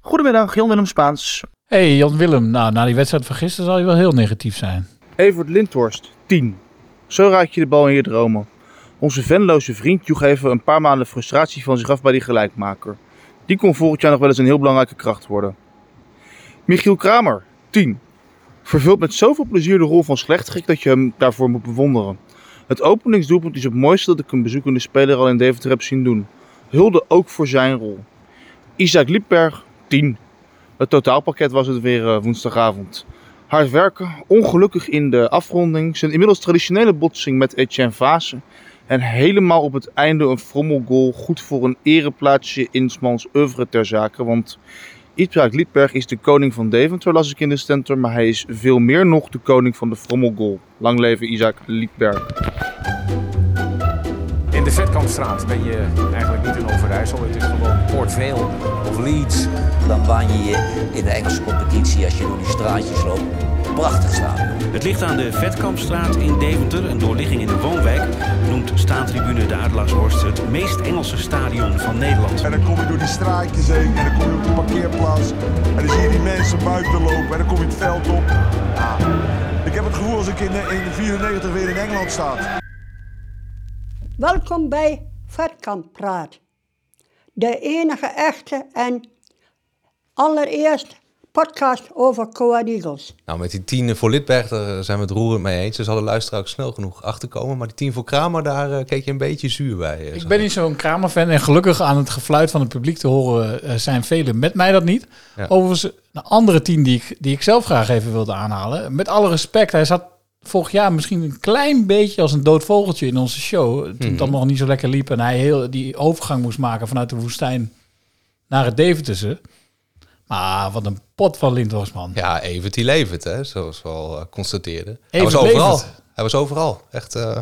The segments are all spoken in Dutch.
Goedemiddag, Jan-Willem Spaans. hey, Jan-Willem, nou, na die wedstrijd van gisteren zal je wel heel negatief zijn. Evert Lindhorst, 10. Zo raak je de bal in je dromen. Onze venloze vriend joeg even een paar maanden frustratie van zich af bij die gelijkmaker. Die kon volgend jaar nog wel eens een heel belangrijke kracht worden. Michiel Kramer, 10. Vervult met zoveel plezier de rol van slechterik dat je hem daarvoor moet bewonderen. Het openingsdoelpunt is het mooiste dat ik een bezoekende speler al in Deventer heb zien doen. Hulde ook voor zijn rol. Isaac Liepberg, 10. Het totaalpakket was het weer eh, woensdagavond. Hard werken, ongelukkig in de afronding, zijn inmiddels traditionele botsing met Etienne Vaassen. En helemaal op het einde een frommelgoal, goed voor een ereplaatsje in Smans oeuvre ter zake. Want Isaac Liedberg is de koning van Deventer, las ik in de stentor, maar hij is veel meer nog de koning van de frommelgoal. Lang leven Isaac Liedberg. In de Vetkampstraat ben je eigenlijk niet in Overijssel, het is gewoon Port Vale of Leeds. Dan baan je je in de Engelse competitie als je door die straatjes loopt. Prachtig stadion. Het ligt aan de Vetkampstraat in Deventer, een doorligging in de woonwijk. Noemt staantribune de Adelaarshorst het meest Engelse stadion van Nederland. En dan kom je door die straatjes heen en dan kom je op de parkeerplaats. En dan zie je die mensen buiten lopen en dan kom je het veld op. Ah, ik heb het gevoel als ik in, eh, in 94 weer in Engeland sta. Welkom bij Vetkamp Praat. De enige echte en allereerst podcast over Coad Eagles. Nou, met die tien voor Lidberg daar eh, zijn we het roerend mee eens. Ze hadden luisteraar ook snel genoeg achterkomen. Maar die tien voor Kramer, daar eh, keek je een beetje zuur bij. eh, Ik zo. ben niet zo'n Kramer-fan en gelukkig aan het gefluit van het publiek te horen eh, zijn velen met mij dat niet. Ja. Overigens, een andere team die ik, die ik zelf graag even wilde aanhalen. Met alle respect, hij zat vorig jaar misschien een klein beetje als een dood vogeltje in onze show. Toen Mhm. het allemaal nog niet zo lekker liep en hij heel die overgang moest maken vanuit de woestijn naar het Deventerse. Maar wat een pot van Lindhorst, man. Ja, Evert die levert, hè, zoals we al eh, constateerden. Hij Evert was overal. levert. Hij was overal. Echt eh,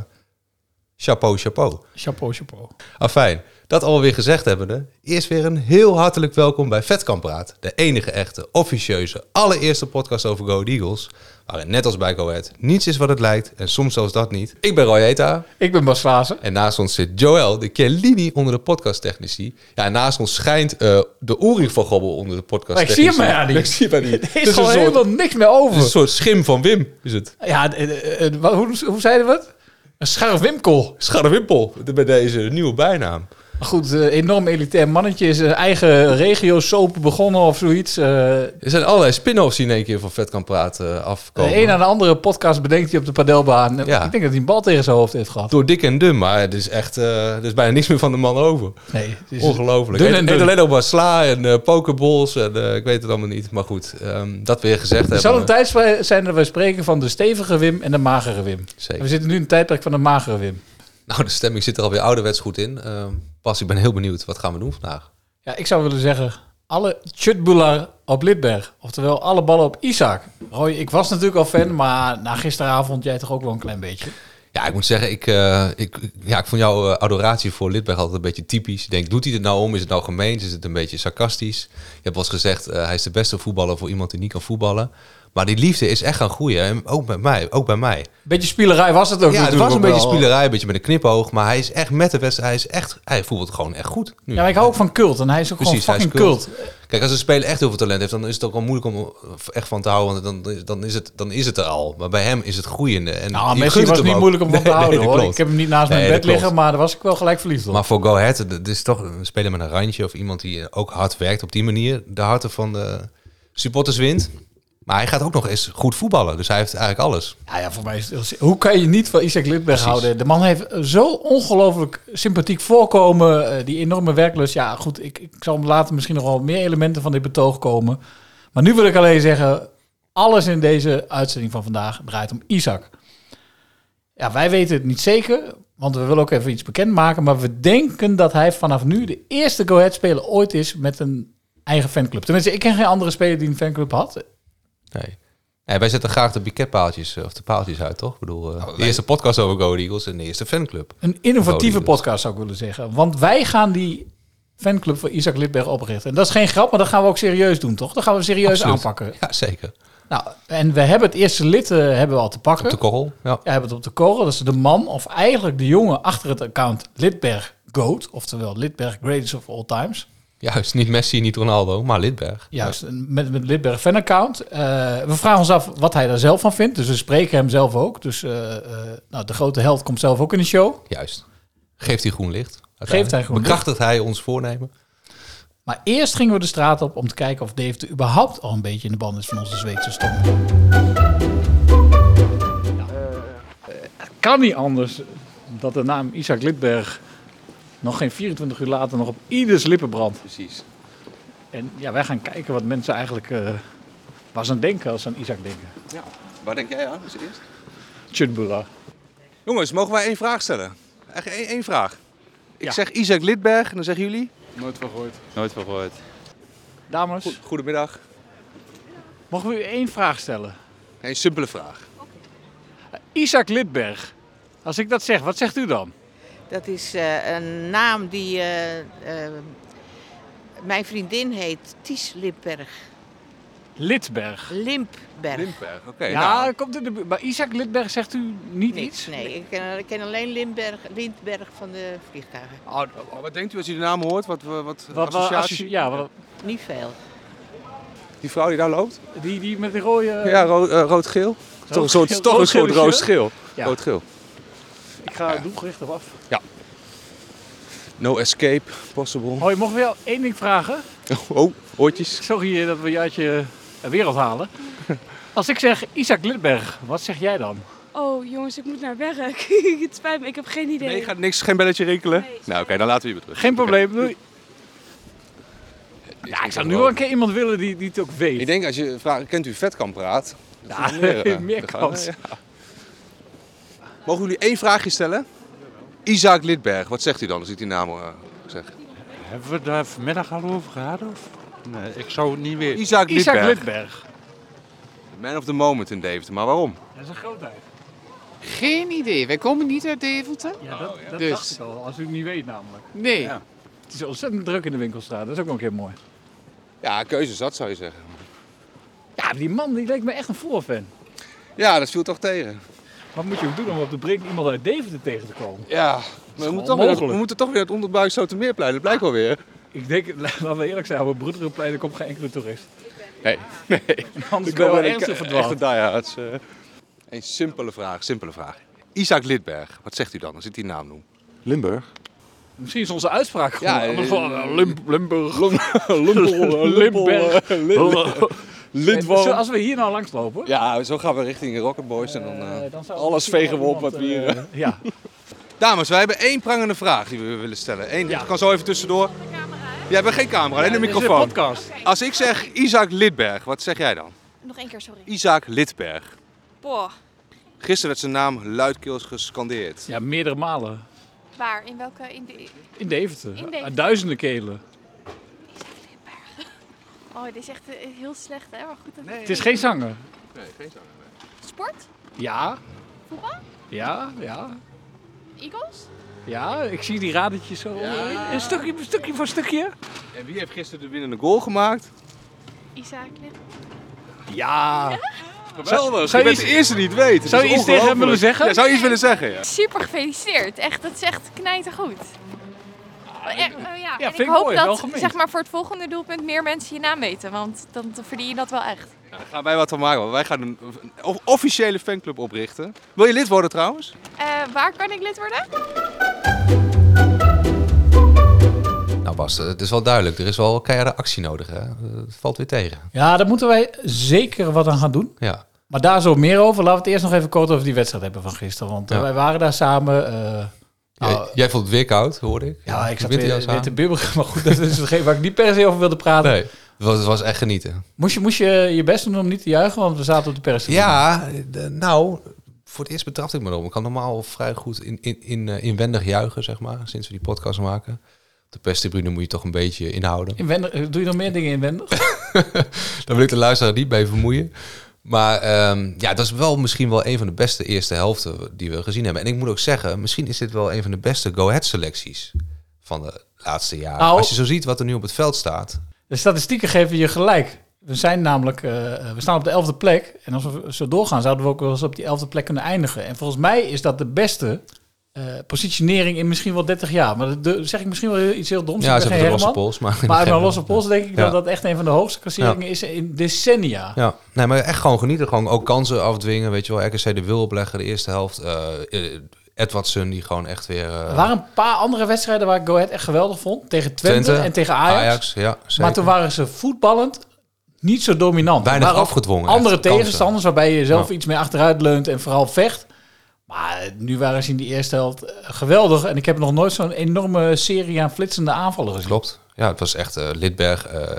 chapeau, chapeau. Chapeau, chapeau. Afijn, dat alweer gezegd hebbende, eerst weer een heel hartelijk welkom bij Vetkamp Praat. De enige echte, officieuze, allereerste podcast over Go Ahead Eagles. Waarin net als bij Go Ahead niets is wat het lijkt en soms zelfs dat niet. Ik ben Roy Heta Ik ben Bas Vlaassen. en naast ons zit Joël, de Chiellini onder de podcasttechnici. Ja, en naast ons schijnt eh, de Oering van Gobbel onder de Ik zie podcasttechnici. hem maar niet. Ik zie hem maar niet. Dus Er Het is gewoon een soort- helemaal niks meer het is een over. soort schim van Wim, is het. Ja, eh, eh, eh, wat- hoe, hoe zeiden we het? Een scharf wimkel. Scharrewimpel, bij deze nieuwe bijnaam. Maar Goed, eh, enorm elitair mannetje is een eigen regio soap begonnen of zoiets. Eh, Er zijn allerlei spin-offs die in één keer van Vet kan praten afkomen. de een aan de andere podcast bedenkt hij op de padelbaan. Ja. Ik denk dat hij een bal tegen zijn hoofd heeft gehad. Door dik en dun, maar het is echt, eh, er is bijna niks meer van de man over. Nee, het is Ongelooflijk. Dun Het en eet dun. alleen nog maar sla en eh pokeballs en eh, ik weet het allemaal niet. Maar goed, ehm, dat weer gezegd Er hebben. zal een tijd sp- zijn dat wij spreken van de stevige Wim en de magere Wim. Zeker. We zitten nu in het tijdperk van de magere Wim. Nou, de stemming zit er alweer ouderwets goed in. Ehm, Bas, ik ben heel benieuwd. Wat gaan we doen vandaag? Ja, ik zou willen zeggen, alle chutboelar op Lidberg. Oftewel, alle ballen op Isaac. Roy, ik was natuurlijk al fan, maar na gisteravond jij toch ook wel een klein beetje. Ja, ik moet zeggen, ik, eh, ik, ik- ja, ik vond jouw eh, adoratie voor Lidberg altijd een beetje typisch. Ik denk, doet hij het nou om? Is het nou gemeens? Is het een beetje sarcastisch? Je hebt wel eens gezegd, eh, hij is de beste voetballer voor iemand die niet kan voetballen. Maar die liefde is echt gaan groeien. En ook bij mij. Ook bij mij. Beetje spielerij was het ook Ja, het natuurlijk was een ook beetje wel. spielerij, een beetje met een knipoog. Maar hij is echt met de wedstrijd. Hij is echt, hij voelt het gewoon echt goed. Nu. Ja, maar ik hou ook van cult en hij is ook Precies, gewoon hij is fucking cult. cult. Kijk, als een speler echt heel veel talent heeft, dan is het ook al moeilijk om er echt van te houden. Want dan, dan, is het, dan is het er al. Maar bij hem is het groeiende. En je Nou, gunt Messi het was hem niet ook. moeilijk om van Nee, te houden nee, dat hoor. klopt. Ik heb hem niet naast Nee, mijn bed dat klopt. liggen, maar daar was ik wel gelijk verliefd op. Maar voor Go Ahead, het is toch een speler met een randje of iemand die eh, ook hard werkt op die manier. De harten van de supporters wint. Maar hij gaat ook nog eens goed voetballen. Dus hij heeft eigenlijk alles. ja, ja, voor mij is het, hoe kan je niet van Isaac Lidberg houden? De man heeft eh, zo ongelooflijk sympathiek voorkomen. eh, die enorme werklust. Ja, goed, ik, ik zal later misschien nog wel meer elementen van dit betoog komen. Maar nu wil ik alleen zeggen, alles in deze uitzending van vandaag draait om Isaac. Ja, wij weten het niet zeker, want we willen ook even iets bekendmaken. Maar we denken dat hij vanaf nu de eerste Go Ahead speler ooit is met een eigen fanclub. Tenminste, ik ken geen andere speler die een fanclub had. Nee. Nee, wij zetten graag de piketpaaltjes eh, of de paaltjes uit, toch? Ik bedoel, Oh, eh, de eerste podcast over Go Ahead Eagles en de eerste fanclub. Een innovatieve Rode Eagles. podcast zou ik willen zeggen. Want wij gaan die fanclub van Isaac Lidberg oprichten. En dat is geen grap, maar dat gaan we ook serieus doen, toch? Dat gaan we serieus Absoluut. aanpakken. Ja, zeker. Nou, en we hebben het eerste lid eh, hebben we al te pakken. Op de korrel. Ja. Ja, hebben het op de korrel. Dat is de man, of eigenlijk de jongen achter het account Lidberg Goat. Oftewel Lidberg Greatest of All Times. Juist, niet Messi, niet Ronaldo, maar Lidberg. Juist, en met, met Lidberg fanaccount. Eh, we vragen ons af wat hij daar zelf van vindt. Dus we spreken hem zelf ook. Dus eh, eh, nou, de grote held komt zelf ook in de show. Juist. Geeft hij groen licht. uiteindelijk. Geeft hij groen licht. Bekrachtigt hij ons voornemen. Maar eerst gingen we de straat op om te kijken of Dave er überhaupt al een beetje in de band is van onze Zweedse stam. kan niet anders dat de naam Isaac Lidberg nog geen 24 uur later nog op ieders lippen brandt. Precies. En ja, wij gaan kijken wat mensen eigenlijk eh waar ze aan denken als ze aan Isaac denken. Ja. Waar denk jij aan als eerst? Chutbula. Jongens, mogen wij één vraag stellen? Eigenlijk één, één vraag. Ik Ja. zeg Isaac Lidberg en dan zeggen jullie... Nooit van gehoord. Dames, Goed, goedemiddag. mogen we u één vraag stellen? Eh, Een simpele vraag. Isaac Lidberg. Als ik dat zeg, wat zegt u dan? Dat is eh, een naam die. eh, eh, mijn vriendin heet Ties Limberg. Lidberg. Limpberg. Lidberg, oké. Ja, nou, komt in de bu- Maar Isaac Lidberg zegt u niet iets? Niets. Nee, ik ken, ik ken alleen Limberg, Lindberg van de vliegtuigen. oh, wat denkt u als u de naam hoort? Wat, wat, wat, Wat, wat, associaties? associ- ja, wat- Niet veel. Die vrouw die daar loopt? die, die met de rode... Ja, ro- eh, rood-geel. toch een soort, toch een soort rood-geel. Rood-geel. Ik ga doelgericht op af. No escape possible. Hoi, mogen we jou één ding vragen? Oh, oortjes. Sorry eh, dat we je uit je eh, wereld halen. Als ik zeg Isaac Lidberg, wat zeg jij dan? Oh jongens, ik moet naar werk. het spijt me, ik heb geen idee. Nee, gaat niks, geen belletje rinkelen? nou, oké, dan laten we je weer terug. Geen Oké. probleem. doei. Ja, ik zou nu wel een keer iemand willen die, die het ook weet. Ik denk als je vraagt, kent u vetkamp praat? Ja, eh, meer kans. Mogen jullie één vraagje stellen? Isaac Lidberg, wat zegt u dan als ik die naam eh, zeg? Hebben we daar vanmiddag al over gehad? Of? Nee, ik zou het niet weten. Isaac Lidberg. Isaac Lidberg. Man of the moment in Deventer, maar waarom? Dat is een grootheid. Geen idee, wij komen niet uit Deventer. Ja, dat, dat Dus. dacht ik al, als u het niet weet namelijk. Nee. Het is ontzettend druk in de winkelstraat, dat is ook wel een keer mooi. Ja, keuze zat zou je zeggen. Ja, die man die leek me echt een voorfan. Ja, dat viel toch tegen. Wat moet je ook doen om op de brink iemand uit Deventer tegen te komen? Ja, maar we moeten, toch weer, onmogelijk. we moeten toch weer het onderbuik Sotermeerplein, dat blijkt wel weer. Ik denk, laten we eerlijk zijn, op het Broederenplein er komt geen enkele toerist. Nee, nee. Anders ben je wel ernstig verdwaald. Echte diehards. eh. Een simpele vraag, simpele vraag. Isaac Lidberg, wat zegt u dan als ik die naam noem? Limburg? Misschien is onze uitspraak gewoon Ja, anders. eh, Van, eh, Lim- Limburg. Limpel, Limberg. eh, Lindwal. Zo, Als we hier nou langslopen, Ja, zo gaan we richting Rock'n'Boys en dan, eh, eh, dan zou alles misschien vegen we wel op wat we iemand, hier... eh, ja. Dames, wij hebben één prangende vraag die we willen stellen. Eén, Ja. Ik kan zo even tussendoor. Jij bent geen camera, alleen een Dit is microfoon. podcast. Als ik zeg Isaac Lidberg, wat zeg jij dan? Nog één keer, sorry. Isaac Lidberg. Boah, Gisteren werd zijn naam luidkeels gescandeerd. Ja, meerdere malen. waar? In welke? In de... In Deventer. In Deventer. Aan Duizenden kelen. Oh, dit is echt eh, heel slecht, hè? Maar goed, dat... Het is geen zanger. Sport? Ja, Voetbal? ja, ja. Eagles? Ja, ik zie die radertjes zo. Een stukje, een stukje voor stukje. En wie heeft gisteren de winnende goal gemaakt? Isaac Lid- Ja. Geweldig, zou je je bent de eerste die het weet. Het zou is je iets tegen hem willen ongelooflijk. zeggen? Ja, zou je iets willen zeggen, ja. Super gefeliciteerd. Echt, dat is echt knijtergoed. Echt, eh, ja. en vind ik ik hoop mooi, wel dat gemeend. zeg maar, voor het volgende doelpunt meer mensen je naam weten. Want dan verdien je dat wel echt. Nou, daar gaan wij wat van maken, want wij gaan een, een of- officiële fanclub oprichten. Wil je lid worden trouwens? Eh, waar kan ik lid worden? Nou Bas, eh, het is wel duidelijk. Er is wel keiharde actie nodig. Hè? Eh, Het valt weer tegen. Ja, daar moeten wij zeker wat aan gaan doen. Ja. Maar daar zo meer over. Laten we het eerst nog even kort over die wedstrijd hebben van gisteren. Want eh, Ja. wij waren daar samen. eh, Jij, nou, jij vond het weer koud, hoorde ik. ja, ik zat Witte weer, jas weer aan. te bibberen. Maar goed, dat is hetgeen waar ik niet per se over wilde praten. Nee, het was, het was echt genieten. Moest, je, moest je je best doen om niet te juichen? Want we zaten op de pers. Ja, de- nou, voor het eerst betrapt ik me erop. Ik kan normaal vrij goed in, in, in, eh, inwendig juichen, zeg maar, sinds we die podcast maken. Op de perstribune moet je toch een beetje inhouden. Inwendig, eh, doe je nog meer dingen inwendig? Daar wil ik de luisteraar niet mee vermoeien. Maar ehm, ja, dat is wel misschien wel een van de beste eerste helften die we gezien hebben. En ik moet ook zeggen, misschien is dit wel een van de beste go-ahead selecties van de laatste jaren. Nou. Als je zo ziet wat er nu op het veld staat. De statistieken geven je gelijk. We zijn namelijk, eh, we staan op de elfde plek. En als we zo doorgaan, zouden we ook wel eens op die elfde plek kunnen eindigen. En volgens mij is dat de beste eh, positionering in misschien wel 30 jaar. Maar dat dat zeg ik misschien wel iets heel doms. Ja, ik ze ben geen hebben de losse Herman. pols, maar- maar uit mijn losse pols denk ik Ja. dat dat echt een van de hoogste klasseringen is in decennia. Ja, nee, maar echt gewoon genieten. Gewoon ook kansen afdwingen. Weet je wel, RKC de wil opleggen, de eerste helft. eh, eh, Edwardson, die gewoon echt weer... eh, Er waren een paar andere wedstrijden waar ik Go Ahead echt geweldig vond. Tegen Twente, en tegen Ajax. ja, maar toen waren ze voetballend niet zo dominant. Weinig Er waren ook afgedwongen, Andere echt, kansen. tegenstanders waarbij je zelf Ja. iets meer achteruit leunt en vooral vecht. Maar nu waren ze in die eerste helft eh, geweldig. En ik heb nog nooit zo'n enorme serie aan flitsende aanvallen gezien. Klopt. Ja, het was echt eh, Lidberg, eh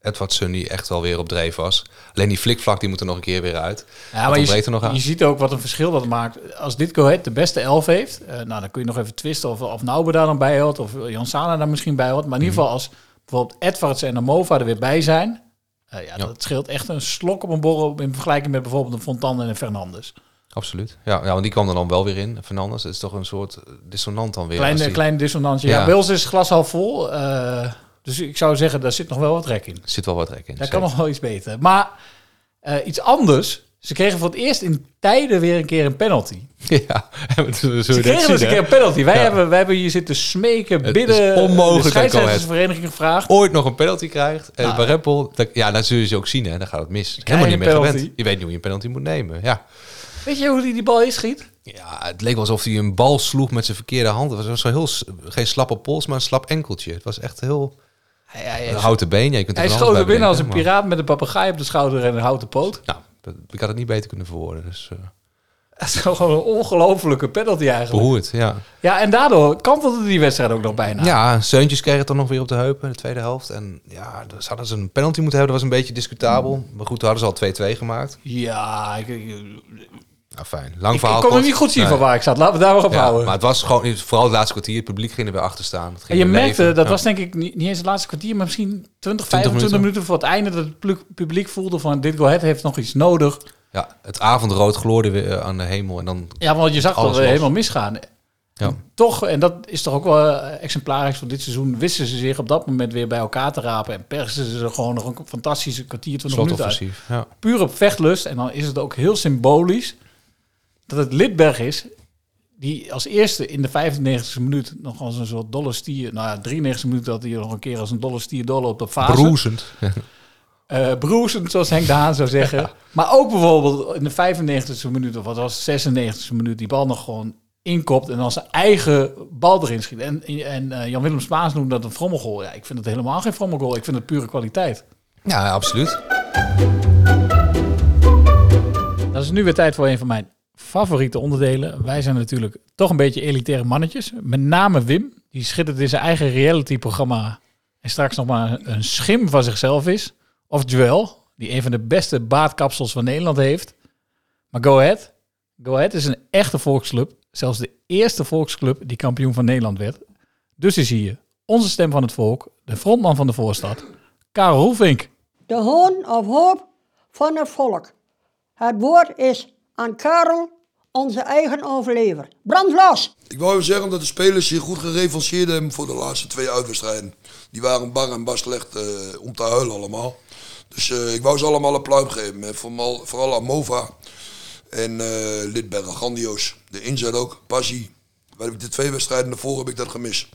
Edwardson die echt wel weer op dreef was. Alleen die flikvlak, die moet er nog een keer weer uit. Ja, maar je, breekt ziet- er nog aan. je ziet ook wat een verschil dat maakt. Als dit Go Ahead de beste elf heeft, eh, nou, dan kun je nog even twisten of, of Naube daar dan bij houdt, of Jan Sana daar misschien bij houdt. Maar in Mhm. ieder geval als bijvoorbeeld Edwards en Amova er weer bij zijn, eh, ja, dat scheelt echt een slok op een borrel in vergelijking met bijvoorbeeld een Fontan en een Fernandes. Absoluut. Ja, ja, want die kwam er dan wel weer in. Fernandes, het is toch een soort eh, dissonant dan weer. Kleine, als die- kleine dissonantie. Ja. bij ons is het glas half vol. eh, dus ik zou zeggen, daar zit nog wel wat rek in. Er zit wel wat rek in. Daar zeker. kan nog wel iets beter. Maar eh, iets anders. Ze kregen voor het eerst in tijden weer een keer een penalty. Ja, dat zullen we Ze net kregen zien, dus een hè? keer een penalty. Wij, Ja. hebben, wij hebben hier zitten smeken, Het bidden. is onmogelijk De dat Go Ahead scheidsrechtersvereniging gevraagd. Ooit nog een penalty krijgt. En Nou. bij Reppel, dat, ja, dat zul je ze ook zien, hè. Dan gaat het mis. je Helemaal niet een meer penalty. gewend. Je weet niet hoe je een penalty moet nemen. Ja. Weet je hoe die die bal inschiet? Ja, het leek wel alsof hij een bal sloeg met zijn verkeerde hand. Het was zo heel, s- geen slappe pols, maar een slap enkeltje. Het was echt heel... Hij, hij, Een houten been, ja, je kunt er hij van schoot alles er bij binnen als een bedenken, maar- piraat met een papegaai op de schouder en een houten poot. Nou, dat, ik had het niet beter kunnen verwoorden. Dus eh Dat is gewoon een ongelofelijke penalty eigenlijk. behoerd, ja. Ja, en daardoor kantelde die wedstrijd ook nog bijna. Ja, Seuntjes kreeg het dan nog weer op de heupen in de tweede helft. En ja, dus hadden ze een penalty moeten hebben. Dat was een beetje discutabel. Maar goed, toen hadden ze al 2-2 gemaakt. Ja, ik, ik- Nou, fijn. Lang Ik- verhaal. ik kon kort. hem niet goed zien Nee. van waar ik zat. Laten we daar maar op Ja, houden. Maar het was gewoon, vooral het laatste kwartier, het publiek ging er weer achter staan. Het En ging je weer merkte, leven. dat Ja. was denk ik niet, niet eens het laatste kwartier, maar misschien 20, 25 minuten. minuten. voor het einde, dat het plu- publiek voelde van dit go ahead heeft nog iets nodig. Ja, het avondrood gloorde weer eh, aan de hemel. En dan Ja, want je zag alles dat we los. helemaal misgaan. Ja. Toch, en dat is toch ook wel eh, exemplarisch van dit seizoen, wisten ze zich op dat moment weer bij elkaar te rapen en persen ze er gewoon nog een fantastische kwartier, 20 minuten uit. Slotoffensief, ja. Puur op vechtlust, en dan is het ook heel symbolisch dat het Lidberg is die als eerste in de 95e minuut nog als een soort dolle stier, nou ja, 93e minuut dat hij nog een keer als een dolle stier doorloopt op fase. Broezend. Eh, broezend, zoals Henk de Haan zou zeggen. Maar ook bijvoorbeeld in de 95e minuut, of wat was het, 96e minuut, die bal nog gewoon inkopt en dan zijn eigen bal erin schiet. En, en eh, Jan-Willem Spaans noemde dat een frommelgoal. Ja, ik vind het helemaal geen frommelgoal. Ik vind het pure kwaliteit. Ja, absoluut. Dat is nu weer tijd voor een van mijn favoriete onderdelen. Wij zijn natuurlijk toch een beetje elitaire mannetjes. Met name Wim, die schittert in zijn eigen reality-programma en straks nog maar een schim van zichzelf is. Of Joel, die een van de beste baardkapsels van Nederland heeft. Maar Go Ahead, Go Ahead is een echte volksclub. Zelfs de eerste volksclub die kampioen van Nederland werd. Dus is hier onze stem van het volk, de frontman van de voorstad, Karel Roelvink. De hoon of hoop van het volk. Het woord is aan Karel, onze eigen overlever. Brand los! Ik wou even zeggen dat de spelers zich goed gerevancheerd hebben voor de laatste twee uitwedstrijden. Die waren bang en bas slecht eh, om te huilen allemaal. Dus eh, ik wou ze allemaal een pluim geven. eh, Vooral, vooral aan Mova en eh Lidbergen. Grandioos. De inzet ook. Passie. Waar heb ik de twee wedstrijden daarvoor heb ik dat gemist.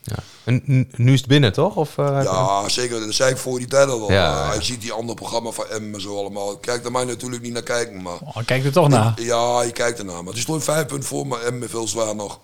En n- nu is het binnen, toch? Of, eh, Ja, zeker. Dat zei ik voor die tijd al wel. Ja, Maar ja. Hij ziet die andere programma van M en zo allemaal. Ik Kijk daar mij natuurlijk niet naar kijken. Maar Oh, kijk er toch naar. ja, je kijkt ernaar. Maar het is stond vijf punten voor, maar M veel zwaar nog.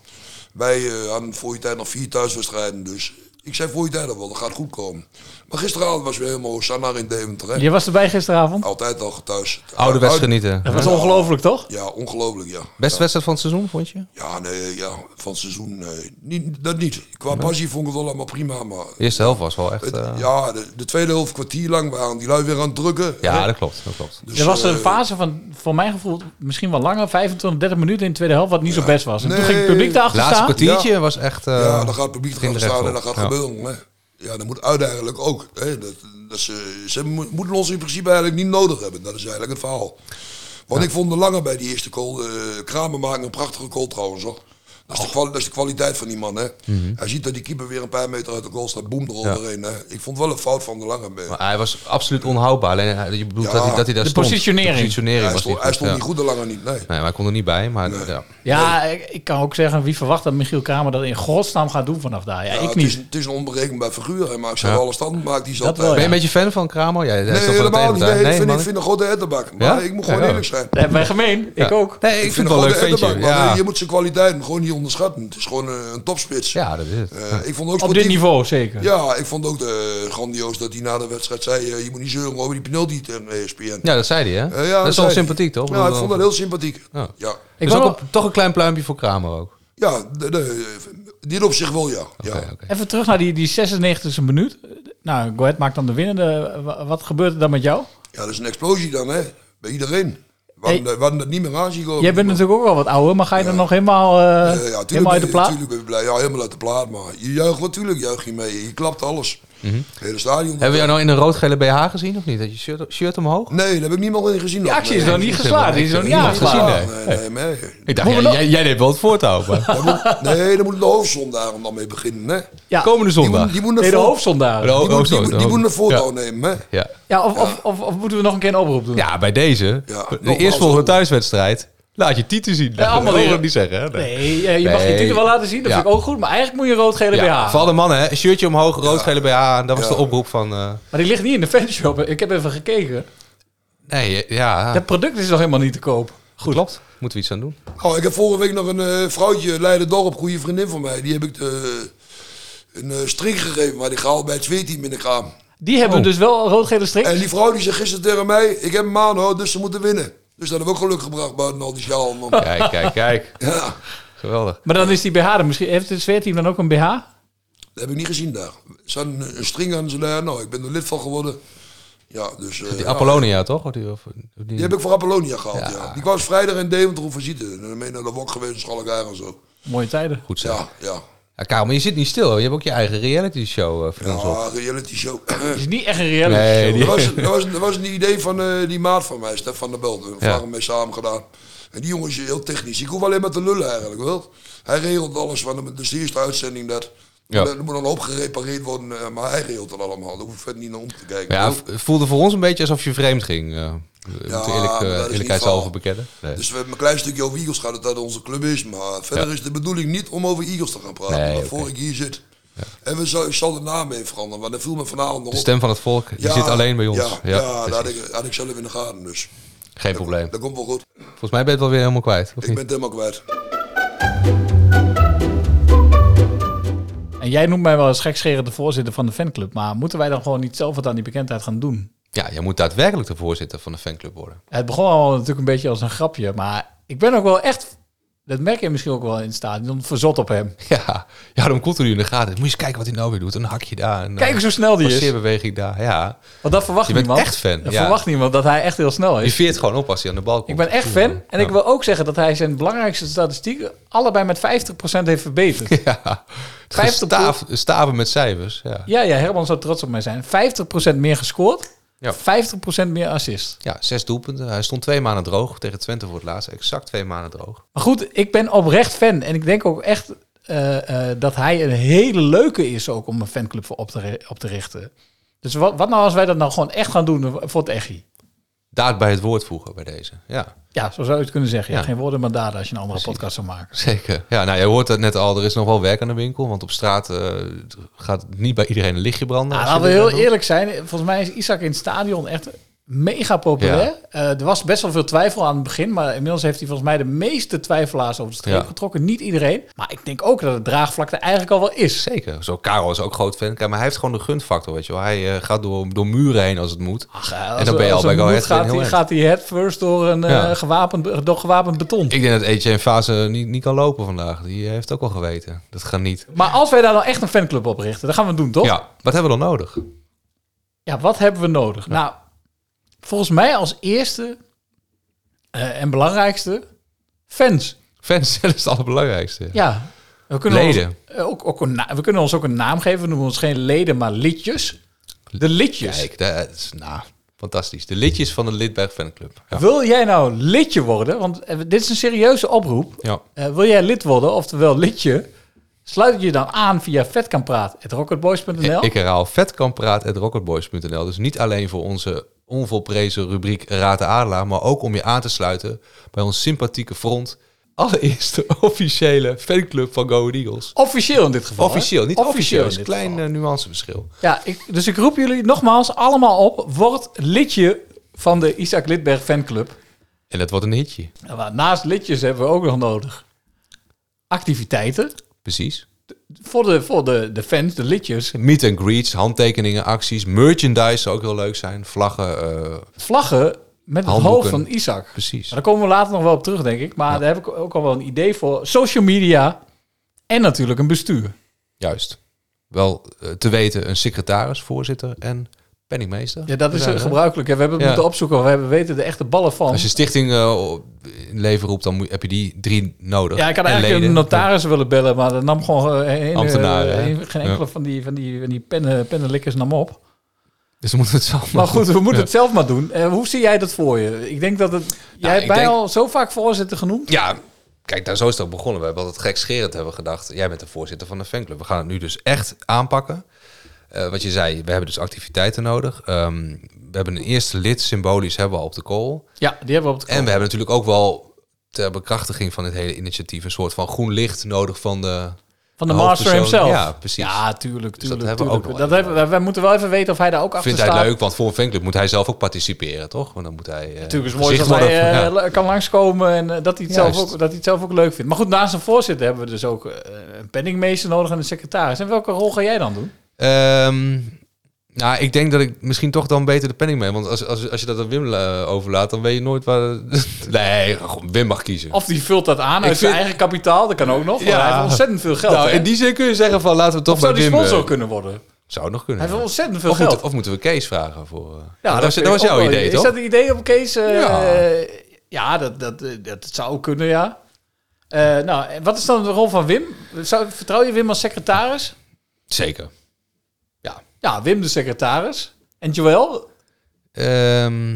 Wij eh, hadden voor die tijd nog vier thuiswedstrijden. Dus ik zei voor die tijd al wel, dat gaat goed komen. Maar gisteravond was weer helemaal Hosanna in Deventer. hè? Je was erbij gisteravond? Altijd al thuis. Oude Uit- wedstrijd genieten. Dat was ongelooflijk, toch? Ja, ongelooflijk, ja. Beste wedstrijd van het seizoen, vond je? Ja, nee, ja, van het seizoen, nee. Niet, dat niet. Qua passie vond ik het wel allemaal prima, maar... De eerste helft was wel echt... Het- eh, Ja, de, de tweede helft kwartier lang waren die lui weer aan het drukken. ja, hè? dat klopt. Dat klopt. Dus, er was een eh, fase van, voor mijn gevoel, misschien wel langer, 25, 30 minuten in de tweede helft, wat niet zo best was. En toen Nee. ging het publiek daarachter Laatste staan. kwartiertje was echt... eh, ja, dan gaat het publiek ging erachter er echt staan en op. dat gaat Ja. gebeuren. Hè. Ja, dat moet uit eigenlijk ook. Hè. Dat, dat ze, ze mo- moeten ons in principe eigenlijk niet nodig hebben. Dat is eigenlijk het verhaal. Want ik vond de lange bij die eerste goal. eh Kramer maakte een prachtige goal trouwens. Hoor. Dat is, de kwali- dat is de kwaliteit van die man. Hè? Oh. Mhm. Hij ziet dat die keeper weer een paar meter uit de goal staat. Boem er Ja. overheen. Hè? Ik vond wel een fout van de lange. eh, mee. Maar hij was absoluut onhoudbaar. Alleen hij- je bedoelt Ja. dat, hij, dat hij daar De stond. positionering. De positionering Ja, hij was stond- niet hij goed. stond ja. niet goed de lange niet. Nee. Nee, maar hij kon er niet bij. Maar ja. Ja, ik, ik kan ook zeggen, wie verwacht dat Michiel Kramer dat in godsnaam gaat doen vanaf daar? Ja, Ja, ik het, is, niet. het is een onberekenbaar figuur. Hij maakt zo Ja. alle stand. Maakt die zat Dat wel, Ben je een beetje fan van Kramer? Ja, hij is Nee, toch wel helemaal tegen niet. elkaar. Nee, ik vind, man. ik vind een grote ettenbak. Maar Ja? ik moet gewoon Ja. eerlijk zijn. Dat hebben wij gemeen. Ik Ja. ook. Nee, ik vind het wel een leuk grote ventje. ettenbak, maar Ja. Je moet zijn kwaliteit gewoon niet onderschatten. Het is gewoon eh, een topspits. Ja, dat is het. Eh, Ja. ik vond ook Op dit sportief- niveau zeker. Ja, ik vond ook eh, grandioos dat hij na de wedstrijd zei... eh, je moet niet zeuren over die penalty E tegen ESPN. Ja, dat zei hij, hè? Eh, ja, dat is zei wel hij. sympathiek, toch? Ja, ik vond dat heel sympathiek. Ja. Ja, Dus wou ook nog- een- toch een klein pluimpje voor Kramer ook. ja de, de, in dit opzicht wel ja. ja. Even terug naar die, die 96e minuut. Nou, Go Ahead maakt dan de winnende. Wa- Wat gebeurt er dan met jou? Ja, dat is een explosie dan, hè? Bij iedereen. We hadden, we hadden dat niet meer aan zien komen. Jij bent natuurlijk ook al wat ouder, maar ga je dan nog helemaal, eh, Ja, ja, tuurlijk helemaal uit de ben je- plaat? tuurlijk ben je blij. Ja, helemaal uit de plaat, maar je juicht natuurlijk, juich je mee. Je klapt alles. Mhm. Het hele stadion. Hebben we jou nou in een rood-gele BH gezien of niet? Dat je shirt, shirt omhoog? Nee, daar heb ik niemand in gezien. Die nog, actie nee. is nog niet geslaagd. Die is nog niet Niemand aangeslagen. gezien, nee. Nee, nee, nee. Ik dacht, jij, jij, jij deed wel het voortouw. maar- Daar moet, nee, daar moet de hoofdzondaar dan mee beginnen, hè? Ja. Komende zondag. Oh, Die moet, die moet naar Nee, de voor- hoofdzondaar. De ho- Die moet, die hoofdzondaar. moet, die moet een foto Ja. nemen, hè? Ja. Ja, of, Of, of, of moeten we nog een keer een oproep doen? ja, bij deze. Ja. de eerstvolgende thuiswedstrijd. Laat je titel zien. Ja, allemaal dat mogen weer. we niet zeggen. Hè? Nee, ja, je mag je Nee. titel wel laten zien. Dat Ja. vind ik ook goed. Maar eigenlijk moet je een rood-gele Ja, BH. vooral de mannen, hè? Shirtje omhoog, rood-gele BH aan. Dat was de oproep van... eh, Maar die ligt niet in de fanshop. Ik heb even gekeken. nee, ja. Dat product is nog helemaal niet te koop. Goed. Klopt. Moeten we iets aan doen. Oh, ik heb vorige week nog een eh, vrouwtje, Leiden Dorp, goede vriendin van mij. Die heb ik de, een eh, string gegeven, maar die gehaald bij het zweerteam in de kraam. Die hebben Oh. Eh, dus wel rood-gele striks. En die vrouw die zei gisteren tegen mij, ik heb hem aan hoor, dus ze moeten winnen. Dus dat hebben we ook geluk gebracht buiten al die sjaal. man. Kijk, kijk, kijk. Ja, Geweldig. Maar dan is die BH er misschien. Heeft het zweerteam dan ook een BH? dat heb ik niet gezien daar. Ze hadden een, een string aan ze daar. Nou, ik ben er lid van geworden. Ja, dus... eh, Die ja. Apollonia, toch? Of die, of- of die- Die heb ik voor Apollonia gehaald, ja. Ja. Die kwam vrijdag in Deventer op visite. En dan ben je naar de wok geweest, Schalkaar en zo. Mooie tijden. Goed zo. Ja. Ja, ja. Karel, maar je zit niet stil. hoor. Je hebt ook je eigen reality show eh voor ons op. Ja, Ah, reality show. Het is niet echt een reality Nee, show. die- Dat was, dat, was, dat was een idee van eh, die maat van mij, Stefan de Belde. We Ja. waren mee samen gedaan. En die jongen is heel technisch. Ik hoef alleen maar te lullen eigenlijk, wel. Hij regelt alles van de, dus de eerste uitzending dat. Ja. Er moet dan een hoop gerepareerd worden, eh, maar hij regelt dat allemaal. Daar hoef ik verder niet naar om te kijken. Ja, wel. v- voelde voor ons een beetje alsof je vreemd ging. eh we Ja, moeten eerlijk, maar dat is eh, niet eerlijkheidshalve van- bekennen. Nee. Dus we hebben een klein stukje over Eagles gehad, dat dat onze club is. Maar verder Ja. is de bedoeling niet om over Eagles te gaan praten, Nee, waarvoor oké. ik hier zit. En we zal, ik zal de naam even veranderen, want dat viel me vanavond nog de op. stem van het volk, die zit alleen bij ons. Ja, Ja, ja, dat had precies. ik, had ik zelf in de gaten, dus Geen probleem. dat komt wel goed. Volgens mij ben je het wel weer helemaal kwijt, of Ik niet? ben het helemaal kwijt. En jij noemt mij wel eens gekscherend de voorzitter van de fanclub. Maar moeten wij dan gewoon niet zelf wat aan die bekendheid gaan doen? Ja, je moet daadwerkelijk de voorzitter van de fanclub worden. Het begon al natuurlijk een beetje als een grapje. Maar ik ben ook wel echt... Dat merk je misschien ook wel in het stadion. Verzot op hem. Ja, ja dan komt hij nu in de gaten. Moet je eens kijken wat hij nou weer doet. Een hakje daar. Een, Kijk eh, eens hoe snel die is. passeerbeweging daar, ja. Want dat verwacht Je bent niemand. echt fan, Dat ja. verwacht niemand dat hij echt heel snel Je is. veert gewoon op als hij aan de bal komt. Ik ben echt fan. En ik wil ook zeggen dat hij zijn belangrijkste statistieken... allebei met 50% heeft verbeterd. Ja, 50 Staaf- staven met cijfers, ja. Ja, ja, Herman zou trots op mij zijn. 50% meer gescoord, Ja. 50% meer assist. Ja, zes doelpunten. Hij stond twee maanden droog tegen Twente voor het laatst. Exact twee maanden droog. Maar goed, ik ben oprecht fan. En ik denk ook echt eh, eh, dat hij een hele leuke is ook om een fanclub voor op te, ri- op te richten. Dus wat, wat nou als wij dat nou gewoon echt gaan doen voor het Echi? Daad bij het woord voegen bij deze. Ja, Ja, zo zou je het kunnen zeggen. Ja, Ja. Geen woorden maar daden als je een andere podcast zou maken. zeker. Ja, nou, jij hoort dat net al. Er is nog wel werk aan de winkel. Want op straat eh, gaat niet bij iedereen een lichtje branden. Nou, als je laten we dit heel gaat doen. eerlijk zijn. Volgens mij is Isaac in het stadion echt mega populair. Ja. Eh, er was best wel veel twijfel aan het begin. Maar inmiddels heeft hij volgens mij de meeste twijfelaars over de streep Ja. getrokken. Niet iedereen. Maar ik denk ook dat het draagvlak er eigenlijk al wel is. Zeker. eh, Zo, Karel is ook groot fan. Kijk, maar hij heeft gewoon de gunfactor, weet je wel. Hij eh, gaat door, door muren heen als het moet. Ja, eh, als- en dan ben je al als bij het Go moet, Ahead gaat, heel hij, eind. gaat hij head first door, een, eh, Ja. gewapend, door gewapend beton. Ik denk dat AJ Fase niet, niet kan lopen vandaag. Die eh, heeft ook al geweten. Dat gaat niet. Maar als wij daar dan echt een fanclub op richten, dan gaan we het doen, toch? Ja, wat hebben we dan nodig? Ja, wat hebben we nodig? Nou, volgens mij als eerste eh, en belangrijkste, fans. Fans, dat is het allerbelangrijkste. Ja. We kunnen, Leden. Ons, eh, ook, ook een na- we kunnen ons ook een naam geven. We noemen ons geen leden, maar liedjes. De liedjes. Kijk, dat is, nou, Fantastisch. De lidjes van de Lidberg Fanclub. Ja. Wil jij nou lidje worden? Want eh, dit is een serieuze oproep. Ja. Eh, wil jij lid worden, oftewel lidje? Sluit je dan aan via vetkampraat.rocketboys.nl. Ik herhaal vetkampraat.rocketboys.nl. Dus niet alleen voor onze onvolprezen rubriek Raad de Adelaar, maar ook om je aan te sluiten bij ons sympathieke front. Allereerst de officiële fanclub van Go Ahead Eagles. Officieel in dit geval. hè? Officieel, niet officieel. in is een dit klein eh, nuanceverschil. Ja, ik, dus ik roep jullie nogmaals allemaal op. Word lidje van de Isaac Lidberg fanclub. En dat wordt een hitje. Nou, maar Naast lidjes hebben we ook nog nodig activiteiten Precies. voor de, voor de, de fans, de lidjes. Meet and greets, handtekeningen, acties, merchandise zou ook heel leuk zijn. Vlaggen. eh, Vlaggen met het Handdoeken. hoofd van Isaac. Precies. Maar daar komen we later nog wel op terug, denk ik. Maar daar heb ik ook al wel een idee voor. Social media en natuurlijk een bestuur. Juist. Wel eh, te weten een secretaris, voorzitter en penningmeester. Ja, dat is Daar, eh, hè? gebruikelijk. hè. We hebben het Ja. moeten opzoeken. want We hebben weten er echt de ballen van. Als je stichting eh, in leven roept, dan moet- heb je die drie nodig. Ja, ik had En eigenlijk leden. een notaris willen bellen, maar dat nam gewoon eh, een, eh, Ambtenaren, hè? een- geen enkele Ja. van die, van die, van die pennen, pennenlikkers nam op. Dus we moeten het zelf Maar goed, we moeten Ja. Nou, het zelf maar doen. Eh, hoe zie jij dat voor je? Ik denk dat het. jij hebt ik mij denk- al zo vaak voorzitter genoemd. Ja, kijk, daar zo is het ook begonnen. We hebben altijd gekscherend hebben gedacht. Jij bent de voorzitter van de fanclub. We gaan het nu dus echt aanpakken. Eh, wat je zei, we hebben dus activiteiten nodig. Ehm, we hebben een eerste lid symbolisch hebben we al op de kool. Ja, die hebben we op de En we hebben natuurlijk ook wel ter bekrachtiging van dit hele initiatief een soort van groen licht nodig van de. Van de master hoofdpersoon. himself. Ja, precies. Ja, tuurlijk, tuurlijk. Dus dat tuurlijk. hebben we ook nog. dat hebben, we- we moeten wel even weten of hij daar ook achter Vindt staat. hij leuk, want voor een fanclub moet hij zelf ook participeren, toch? Want dan moet hij. eh, Natuurlijk is het mooi gezicht dat hij worden. eh, Ja. la- kan langskomen en eh, dat, hij het zelf Juist. ook, dat hij het zelf ook leuk vindt. Maar goed, naast een voorzitter hebben we dus ook eh, een penningmeester nodig en een secretaris. En welke rol ga jij dan doen? Ehm, nou, ik denk dat ik misschien toch dan beter de penning mee. Want als, als, als je dat aan Wim eh, overlaat, dan weet je nooit waar. nee, gewoon, Wim mag kiezen. Of die vult dat aan Ik uit zijn vind- eigen kapitaal, dat kan ook nog. want Ja. hij heeft ontzettend veel geld. Nou, hè? in die zin kun je zeggen van laten we het Of toch zou bij die Wim, sponsor eh, kunnen worden? Zou nog kunnen. Hij heeft ja. ontzettend veel of moeten- geld. of moeten we Kees vragen voor? eh, Ja, dat, was, vind dat was ik ook jouw wel- idee, is toch? dat een idee op Kees? Eh, Ja. ja, dat, dat, eh, dat zou kunnen, ja. Eh, nou, en wat is dan de rol van Wim? Zou, vertrouw je Wim als secretaris? Zeker. Ja, Wim de secretaris. En Joël? Ehm,